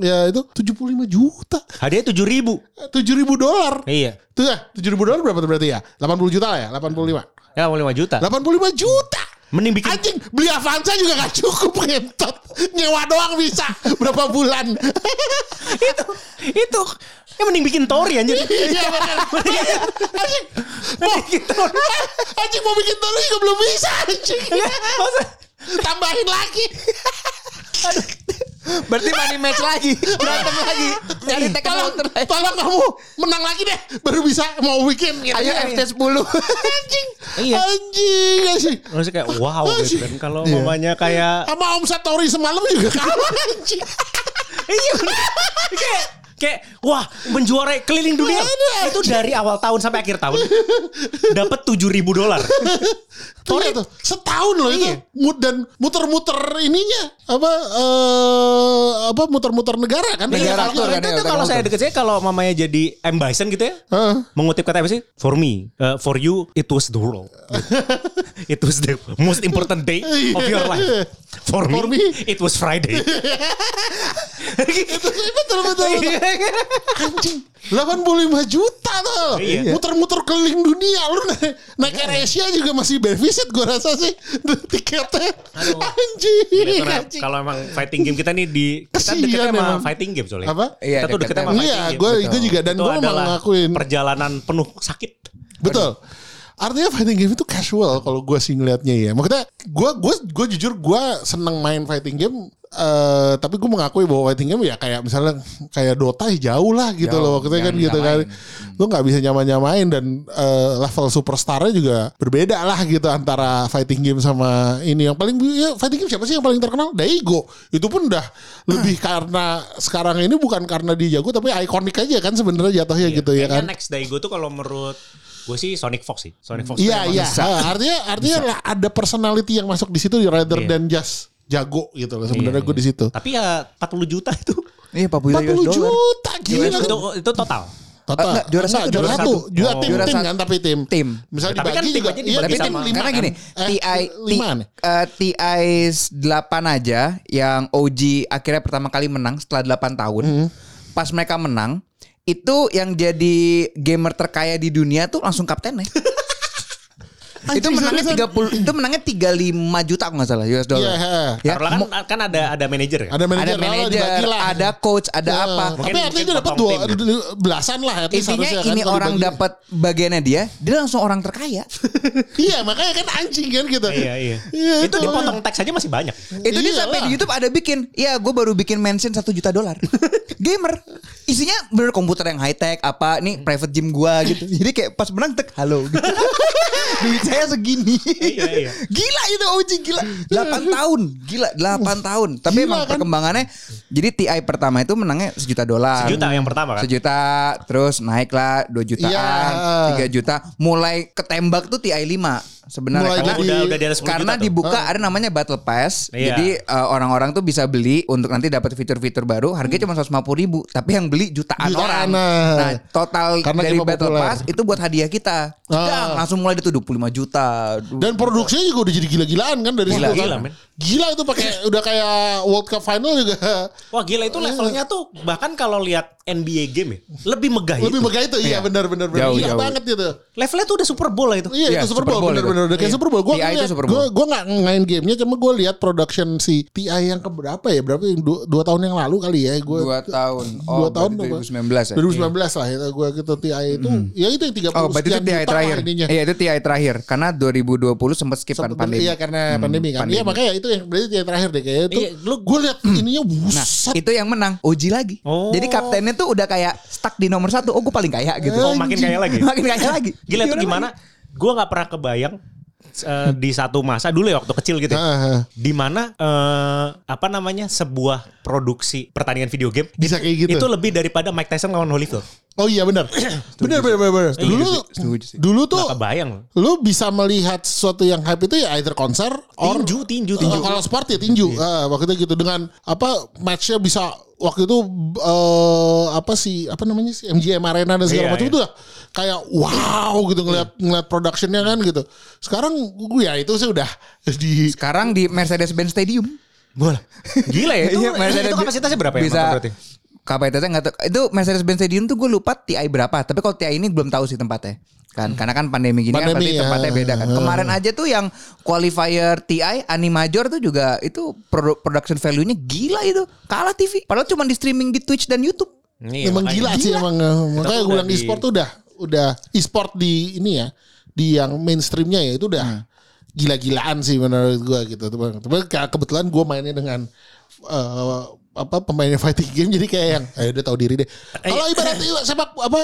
Speaker 1: Ya itu 75 juta.
Speaker 3: Hadiahnya 7 ribu.
Speaker 1: 7000 dolar.
Speaker 3: Iya.
Speaker 1: Tuh ya, 7000 dolar berapa tuh berarti ya? 80 juta lah ya, 85.
Speaker 3: Ya mau 5 juta.
Speaker 1: 85 juta.
Speaker 3: Mending bikin
Speaker 1: Anjing beli Avanza juga gak cukup ngentot. Nyewa doang bisa. Berapa bulan?
Speaker 3: itu. Itu. Ya mending bikin Tori anjir.
Speaker 1: Iya benar. Anjing. Mau, anjing mau bikin telur juga belum bisa anjing.
Speaker 3: Masa?
Speaker 1: Tambahin lagi.
Speaker 4: Berarti money match lagi. Berantem lagi. Cari Tekken
Speaker 1: Tolong,
Speaker 4: Counter lagi.
Speaker 1: tolong kamu menang lagi deh. Baru bisa mau bikin. Gitu.
Speaker 4: Ayo FC10.
Speaker 1: Anjing.
Speaker 3: Iya.
Speaker 1: Anjing. Anjing.
Speaker 3: Maksudnya kayak wow gitu kan. Kalau
Speaker 1: Iya.
Speaker 3: mamanya kayak
Speaker 1: Sama Om Satori semalam juga kalah anjing.
Speaker 3: Iya bener. Kayak kayak wah menjuarai keliling dunia
Speaker 1: Iya,
Speaker 3: itu dari awal tahun sampai akhir tahun dapat 7000 dolar.
Speaker 1: Tori Iya tuh setahun loh itu Mut- dan muter-muter ininya apa eh, apa muter-muter negara kan
Speaker 4: Negara
Speaker 1: Iya,
Speaker 4: tuh
Speaker 1: kan?
Speaker 4: kan.
Speaker 3: Itu tuh kalau saya deket saya kalau mamanya jadi M Bison gitu ya.
Speaker 1: Heeh.
Speaker 3: Mengutip kata apa sih? For me, uh, for you, it was the world. it was the most important day of your life. For me,
Speaker 1: Iya. For me.
Speaker 3: it was Friday. Iya
Speaker 1: betul betul, betul.
Speaker 3: kan?
Speaker 1: anjing 85 juta tuh
Speaker 3: Iya.
Speaker 1: muter-muter keliling dunia lu naik, naik Air Asia juga masih defisit gua rasa sih tiketnya anjing
Speaker 3: Karena
Speaker 1: Iya, anjing
Speaker 3: kalau emang fighting game kita nih di kita
Speaker 1: Kasihan
Speaker 3: deketnya sama
Speaker 1: emang.
Speaker 3: fighting game soalnya.
Speaker 1: Apa?
Speaker 4: Iya,
Speaker 3: kita tuh deketnya
Speaker 4: deketnya
Speaker 3: sama fighting
Speaker 1: iya
Speaker 3: game.
Speaker 1: gue gue juga dan
Speaker 3: itu
Speaker 1: gue mau
Speaker 3: adalah
Speaker 1: ngakuin
Speaker 3: perjalanan penuh sakit.
Speaker 1: Betul. Artinya fighting game itu casual kalau gue sih ngelihatnya ya. Maksudnya gue gue gue jujur gue seneng main fighting game. eh tapi gue mengakui bahwa fighting game ya kayak misalnya kayak Dota ya jauh lah gitu
Speaker 4: Jauh,
Speaker 1: loh maksudnya kan
Speaker 4: jangan
Speaker 1: gitu kan
Speaker 4: disamain.
Speaker 1: lu nggak bisa nyaman nyamain dan eh, level superstarnya juga berbeda lah gitu antara fighting game sama ini yang paling ya, fighting game siapa sih yang paling terkenal Daigo itu pun udah lebih karena sekarang ini bukan karena dia jago tapi ikonik aja kan sebenarnya jatuhnya gitu ya
Speaker 3: Iya. Kayaknya
Speaker 1: kan
Speaker 3: next Daigo tuh kalau menurut gue sih Sonic Fox sih. Sonic Fox. tuh
Speaker 1: Iya
Speaker 3: emang-
Speaker 1: iya. Eh, Artinya artinya lah ada personality yang masuk di situ rather
Speaker 3: Iya.
Speaker 1: than just jago gitu loh. Sebenarnya
Speaker 3: Iya,
Speaker 1: gue
Speaker 3: iya.
Speaker 1: di situ.
Speaker 3: Tapi ya 40 juta itu.
Speaker 4: Iya 40 juta US
Speaker 1: 40
Speaker 4: dollar.
Speaker 1: juta Gila, kan?
Speaker 3: itu, itu, itu total.
Speaker 1: Total.
Speaker 4: enggak, juara
Speaker 1: Enggak,
Speaker 4: satu,
Speaker 1: juara
Speaker 4: juara
Speaker 1: satu.
Speaker 4: satu.
Speaker 1: Juara
Speaker 3: Oh.
Speaker 1: tim
Speaker 4: Juara
Speaker 1: tim
Speaker 4: satu.
Speaker 1: kan tapi tim.
Speaker 4: Tim.
Speaker 1: Misalnya
Speaker 3: Tapi
Speaker 1: dibagi
Speaker 3: kan tim
Speaker 1: juga.
Speaker 3: aja
Speaker 1: Iya, tapi
Speaker 3: dibagi
Speaker 4: Tapi
Speaker 1: tim
Speaker 4: tim,
Speaker 3: sama.
Speaker 1: lima
Speaker 4: karena
Speaker 1: kan?
Speaker 4: gini,
Speaker 1: Eh,
Speaker 4: TI
Speaker 1: lima nih.
Speaker 4: eh, TI 8 aja yang OG akhirnya pertama kali menang setelah 8 tahun.
Speaker 1: Hmm.
Speaker 4: Pas mereka menang, itu yang jadi gamer terkaya di dunia tuh langsung kaptennya. itu
Speaker 1: Anjing,
Speaker 4: menangnya
Speaker 1: seriusan.
Speaker 4: 30 itu menangnya 35 juta kalau nggak salah US dollar.
Speaker 1: Iya, he.
Speaker 4: Ya,
Speaker 3: Taruhlah
Speaker 4: mo-
Speaker 3: kan, kan ada ada manajer kan?
Speaker 1: Ada manajer,
Speaker 4: ada
Speaker 1: lah,
Speaker 4: manajer,
Speaker 1: dibagi lah.
Speaker 4: ada coach, ada
Speaker 1: Eh,
Speaker 4: apa.
Speaker 1: Tapi
Speaker 3: Mungkin-
Speaker 1: artinya itu
Speaker 3: mungkin
Speaker 1: dapat dua
Speaker 3: potong tim.
Speaker 1: belasan lah at least
Speaker 4: Intinya
Speaker 1: harusnya kan,
Speaker 4: ini
Speaker 1: kalau
Speaker 4: orang
Speaker 1: dibagi.
Speaker 4: dapat bagiannya dia, dia langsung orang terkaya.
Speaker 1: Iya, makanya kan anjing kan gitu.
Speaker 3: Iya, iya. itu
Speaker 1: makanya.
Speaker 3: dipotong teks aja masih banyak.
Speaker 4: Itu dia
Speaker 1: Iyalah.
Speaker 4: sampai di YouTube ada bikin, ya gue baru bikin mention 1 juta dolar. Gamer. Isinya bener komputer yang high tech apa, nih private gym gue gitu. Jadi kayak pas menang tek, halo. gitu. Duit saya segini.
Speaker 3: Iya, iya.
Speaker 4: Gila itu OG gila. 8 tahun. Gila 8 tahun. Tapi
Speaker 1: Gila,
Speaker 4: emang
Speaker 1: kan?
Speaker 4: perkembangannya jadi TI pertama itu menangnya sejuta dolar.
Speaker 3: Sejuta yang pertama kan?
Speaker 4: Sejuta terus naiklah 2 jutaan,
Speaker 1: Iya.
Speaker 4: 3 juta, mulai ketembak tuh TI 5 sebenarnya
Speaker 1: Mulai
Speaker 4: karena
Speaker 1: jadi-
Speaker 3: udah udah di atas 10
Speaker 4: karena
Speaker 3: juta tuh.
Speaker 4: dibuka ada namanya battle pass
Speaker 3: Iya.
Speaker 4: jadi eh, orang-orang tuh bisa beli untuk nanti dapat fitur-fitur baru harganya cuma 150 ribu tapi yang beli jutaan,
Speaker 1: Hmm. Jutaan,
Speaker 4: orang
Speaker 1: nah.
Speaker 4: nah total
Speaker 1: Karena
Speaker 4: dari
Speaker 1: game
Speaker 4: battle
Speaker 1: populer. Ah.
Speaker 4: pass itu buat hadiah kita Sedang, langsung mulai itu 25 juta
Speaker 1: Dan produksinya juga udah jadi gila-gilaan kan dari
Speaker 4: Gila,
Speaker 1: situ kan.
Speaker 3: gila, men.
Speaker 1: Gila itu pakai udah kayak World Cup final juga
Speaker 3: Wah gila
Speaker 1: Iya.
Speaker 3: itu levelnya tuh bahkan kalau lihat NBA game ya, lebih megah
Speaker 1: lebih
Speaker 3: itu.
Speaker 1: megah itu. Iya, benar-benar benar.
Speaker 4: Jauh,
Speaker 1: Gila
Speaker 4: jauh.
Speaker 1: banget gitu.
Speaker 3: Levelnya tuh udah Super Bowl lah itu.
Speaker 1: Iya,
Speaker 4: Iya,
Speaker 1: itu Super Bowl,
Speaker 4: Super Bowl
Speaker 1: benar-benar
Speaker 4: itu.
Speaker 1: udah kayak
Speaker 4: Iya.
Speaker 1: Super Bowl. Gua
Speaker 4: TI itu
Speaker 1: ngeliat-
Speaker 4: Super Bowl.
Speaker 1: gua gua enggak main gamenya cuma gua lihat production si TI yang keberapa ya? Berapa ya? dua, dua tahun yang lalu kali ya gua
Speaker 4: 2 tahun
Speaker 1: dua tahun apa?
Speaker 4: berarti 2019 ya
Speaker 1: 2019 lah ya gue gitu TI itu ya itu yang 30
Speaker 4: Oh, berarti itu
Speaker 1: sekian
Speaker 4: TI
Speaker 1: juta lah
Speaker 4: terakhir.
Speaker 1: ininya.
Speaker 4: Iya, itu TI terakhir. Karena 2020 sempat skip kan
Speaker 1: Sempet-
Speaker 4: pandemi.
Speaker 1: Iya karena pandemi kan. Iya
Speaker 4: pandemi.
Speaker 1: makanya itu yang berarti yang terakhir deh kayaknya itu.
Speaker 3: Iya, lu-
Speaker 1: gue liat ininya
Speaker 4: Nah,
Speaker 1: buset.
Speaker 4: itu yang menang Oji lagi.
Speaker 3: Oh.
Speaker 4: Jadi kaptennya tuh udah kayak stuck di nomor satu. Oh, gue paling kaya gitu.
Speaker 3: Oh, makin kaya lagi.
Speaker 4: makin kaya lagi.
Speaker 3: Gila itu gimana? Gue nggak pernah kebayang eh, di satu masa dulu ya waktu kecil gitu. ya,
Speaker 1: Nah,
Speaker 3: di mana eh, apa namanya sebuah produksi pertandingan video game
Speaker 1: bisa kayak gitu.
Speaker 3: itu lebih daripada Mike Tyson lawan Holyfield.
Speaker 1: oh iya benar. benar benar benar. benar. Dulu
Speaker 4: setuju sih.
Speaker 1: dulu tuh
Speaker 3: Gak kebayang loh.
Speaker 1: lu bisa melihat sesuatu yang hype itu ya either konser or
Speaker 3: Tinju, tinju, tinju.
Speaker 1: Eh, kalau sport ya tinju. Eh, waktu itu gitu dengan apa matchnya bisa waktu itu eh, apa sih apa namanya sih MGM Arena dan segala
Speaker 3: Iya,
Speaker 1: macam
Speaker 3: iya.
Speaker 1: itu lah kayak wow gitu ngeliat ngeliat productionnya kan gitu. Sekarang gue ya itu sih udah di
Speaker 4: Sekarang di Mercedes-Benz Stadium.
Speaker 3: Bola. Gila ya itu.
Speaker 4: Iya,
Speaker 3: itu kapasitasnya berapa ya?
Speaker 4: Bisa
Speaker 3: Marco,
Speaker 4: kapasitasnya nggak tahu. Itu Mercedes-Benz Stadium tuh gue lupa TI berapa. Tapi kalau TI ini belum tahu sih tempatnya.
Speaker 3: Hmm.
Speaker 4: Kan karena kan pandemi gini kan
Speaker 1: Pandemi,
Speaker 4: berarti
Speaker 1: ya.
Speaker 4: tempatnya beda kan. Kemarin aja tuh yang qualifier TI Animajor tuh juga itu produ- production value-nya gila itu. Kalah TV. Padahal cuma di streaming di Twitch dan YouTube.
Speaker 3: Iya,
Speaker 1: Memang
Speaker 3: makanya.
Speaker 1: gila, sih emang eh, makanya
Speaker 3: tuh
Speaker 1: gue
Speaker 3: udah
Speaker 1: bilang
Speaker 3: di-
Speaker 1: e-sport tuh udah udah e-sport di ini ya di yang mainstreamnya ya itu udah
Speaker 3: Hmm.
Speaker 1: gila-gilaan sih menurut gue gitu. Tapi tapi ke- kebetulan gue mainnya dengan eh, apa pemainnya fighting game jadi kayak yang eh udah tahu diri deh. Kalau
Speaker 3: iya.
Speaker 1: ibarat ibarat sepak apa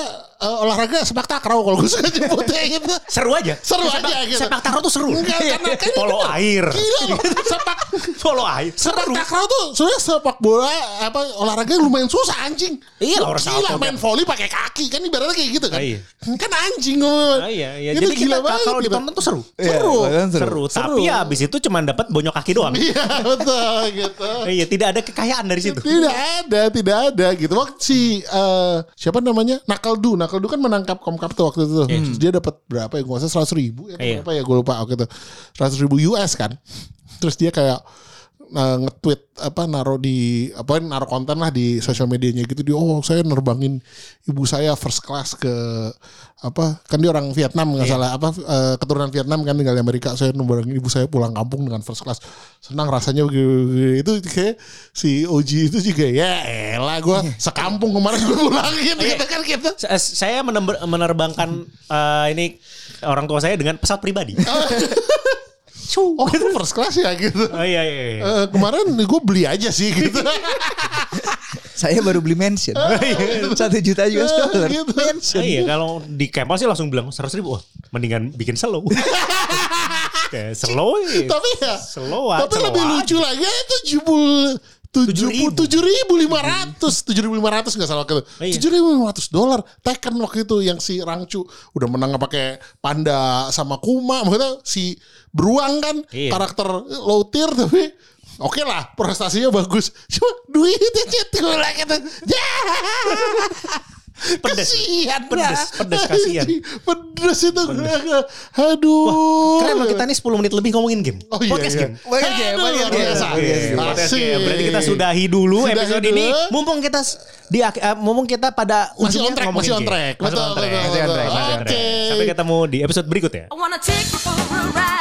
Speaker 1: eh, olahraga sepak takraw kalau gue suka nyebutnya gitu.
Speaker 3: Seru aja.
Speaker 1: Seru
Speaker 3: sepak,
Speaker 1: aja gitu.
Speaker 3: Sepak takraw tuh seru.
Speaker 1: Enggak, karena kan itu
Speaker 3: Iya. Polo
Speaker 1: tuh
Speaker 3: air. Iya.
Speaker 1: Gila loh, sepak
Speaker 3: Polo air.
Speaker 1: sepak takraw tuh sebenarnya sepak bola apa olahraga lumayan susah anjing.
Speaker 3: Iya,
Speaker 1: Lu
Speaker 3: harus
Speaker 1: gila
Speaker 3: salto,
Speaker 1: main
Speaker 3: kan.
Speaker 1: volley pakai kaki kan ibaratnya kayak gitu kan.
Speaker 3: Ah, iya.
Speaker 1: Kan anjing ngomong.
Speaker 3: Ah, iya, iya.
Speaker 1: Itu
Speaker 3: Jadi
Speaker 1: gila
Speaker 3: kita
Speaker 1: banget
Speaker 3: kalau
Speaker 1: gitu.
Speaker 3: ditonton tuh seru.
Speaker 1: Seru.
Speaker 4: Iya, seru.
Speaker 3: Seru. Tapi ya abis itu cuma dapat bonyok kaki doang.
Speaker 1: Iya betul gitu.
Speaker 3: Iya, tidak ada kekayaan dari situ.
Speaker 1: Tidak ada, tidak ada gitu. Waktu si eh, siapa namanya Nakaldu, Nakaldu kan menangkap Komkap tuh waktu itu. tuh. Terus Dia dapat berapa ya? Gue rasa seratus ribu ya, atau
Speaker 3: Iya.
Speaker 1: berapa ya? Gue lupa waktu itu seratus ribu US kan. Terus dia kayak eh, nge-tweet apa naruh di apa naruh konten lah di sosial medianya gitu dia oh saya nerbangin ibu saya first class ke apa kan dia orang Vietnam nggak salah apa eh, keturunan Vietnam kan tinggal di Amerika saya nerbangin ibu saya pulang kampung dengan first class senang rasanya begini- begini." itu kayak si OG itu juga ya elah gue sekampung kemarin gue pulangin gitu kan gitu
Speaker 3: Sa- eh, Saya menember- menerbangkan eh, ini orang tua saya dengan pesawat pribadi.
Speaker 1: oh itu first class ya gitu
Speaker 3: Oh iya iya. iya.
Speaker 1: Eh, kemarin gue beli aja sih gitu
Speaker 4: Saya baru beli mention. Satu juta US dollar.
Speaker 1: Gitu.
Speaker 3: Oh, iya kalau di kempas sih langsung bilang seratus ribu, wah mendingan bikin slow. Kayak slow. iya.
Speaker 1: tapi ya
Speaker 3: Slow aja,
Speaker 1: tapi
Speaker 3: slow
Speaker 1: lebih
Speaker 3: aja.
Speaker 1: lucu lagi ya itu jubul tujuh
Speaker 3: ribu.
Speaker 1: tujuh ribu lima ratus tujuh ribu lima ratus nggak salah waktu itu
Speaker 3: Iya.
Speaker 1: tujuh ribu lima ratus dolar Tekken waktu itu yang si Rangcu udah menang pakai panda sama Kuma maksudnya si beruang kan
Speaker 3: Iya.
Speaker 1: karakter low tier tapi oke lah prestasinya bagus cuma duitnya cetulak gitu ya
Speaker 3: Pedes.
Speaker 1: Kasihan
Speaker 3: Pedes,
Speaker 1: dah.
Speaker 3: pedes, kasihan.
Speaker 1: Pedes itu Aduh
Speaker 3: Keren loh kita nih 10 menit lebih ngomongin game.
Speaker 1: Oh iya,
Speaker 3: Podcast
Speaker 1: iya.
Speaker 3: game.
Speaker 4: Podcast game,
Speaker 1: Aduh,
Speaker 4: podcast
Speaker 1: luar
Speaker 4: game.
Speaker 1: biasa.
Speaker 4: Podcast game.
Speaker 3: Podcast game.
Speaker 1: Asik.
Speaker 3: Berarti kita sudahi dulu
Speaker 1: iya, Sudahi
Speaker 3: episode
Speaker 1: dulu.
Speaker 3: ini. Mumpung kita s- di ak- eh, mumpung kita pada
Speaker 1: Masih
Speaker 3: ujungnya
Speaker 1: on track,
Speaker 3: ngomongin
Speaker 1: masih on
Speaker 3: game.
Speaker 1: track.
Speaker 3: Masih
Speaker 1: Betul,
Speaker 3: on track.
Speaker 1: betul,
Speaker 3: Masih on
Speaker 1: betul.
Speaker 3: track, masih on track.
Speaker 1: Oke.
Speaker 3: Sampai ketemu di episode berikutnya.
Speaker 2: I wanna take you for a ride.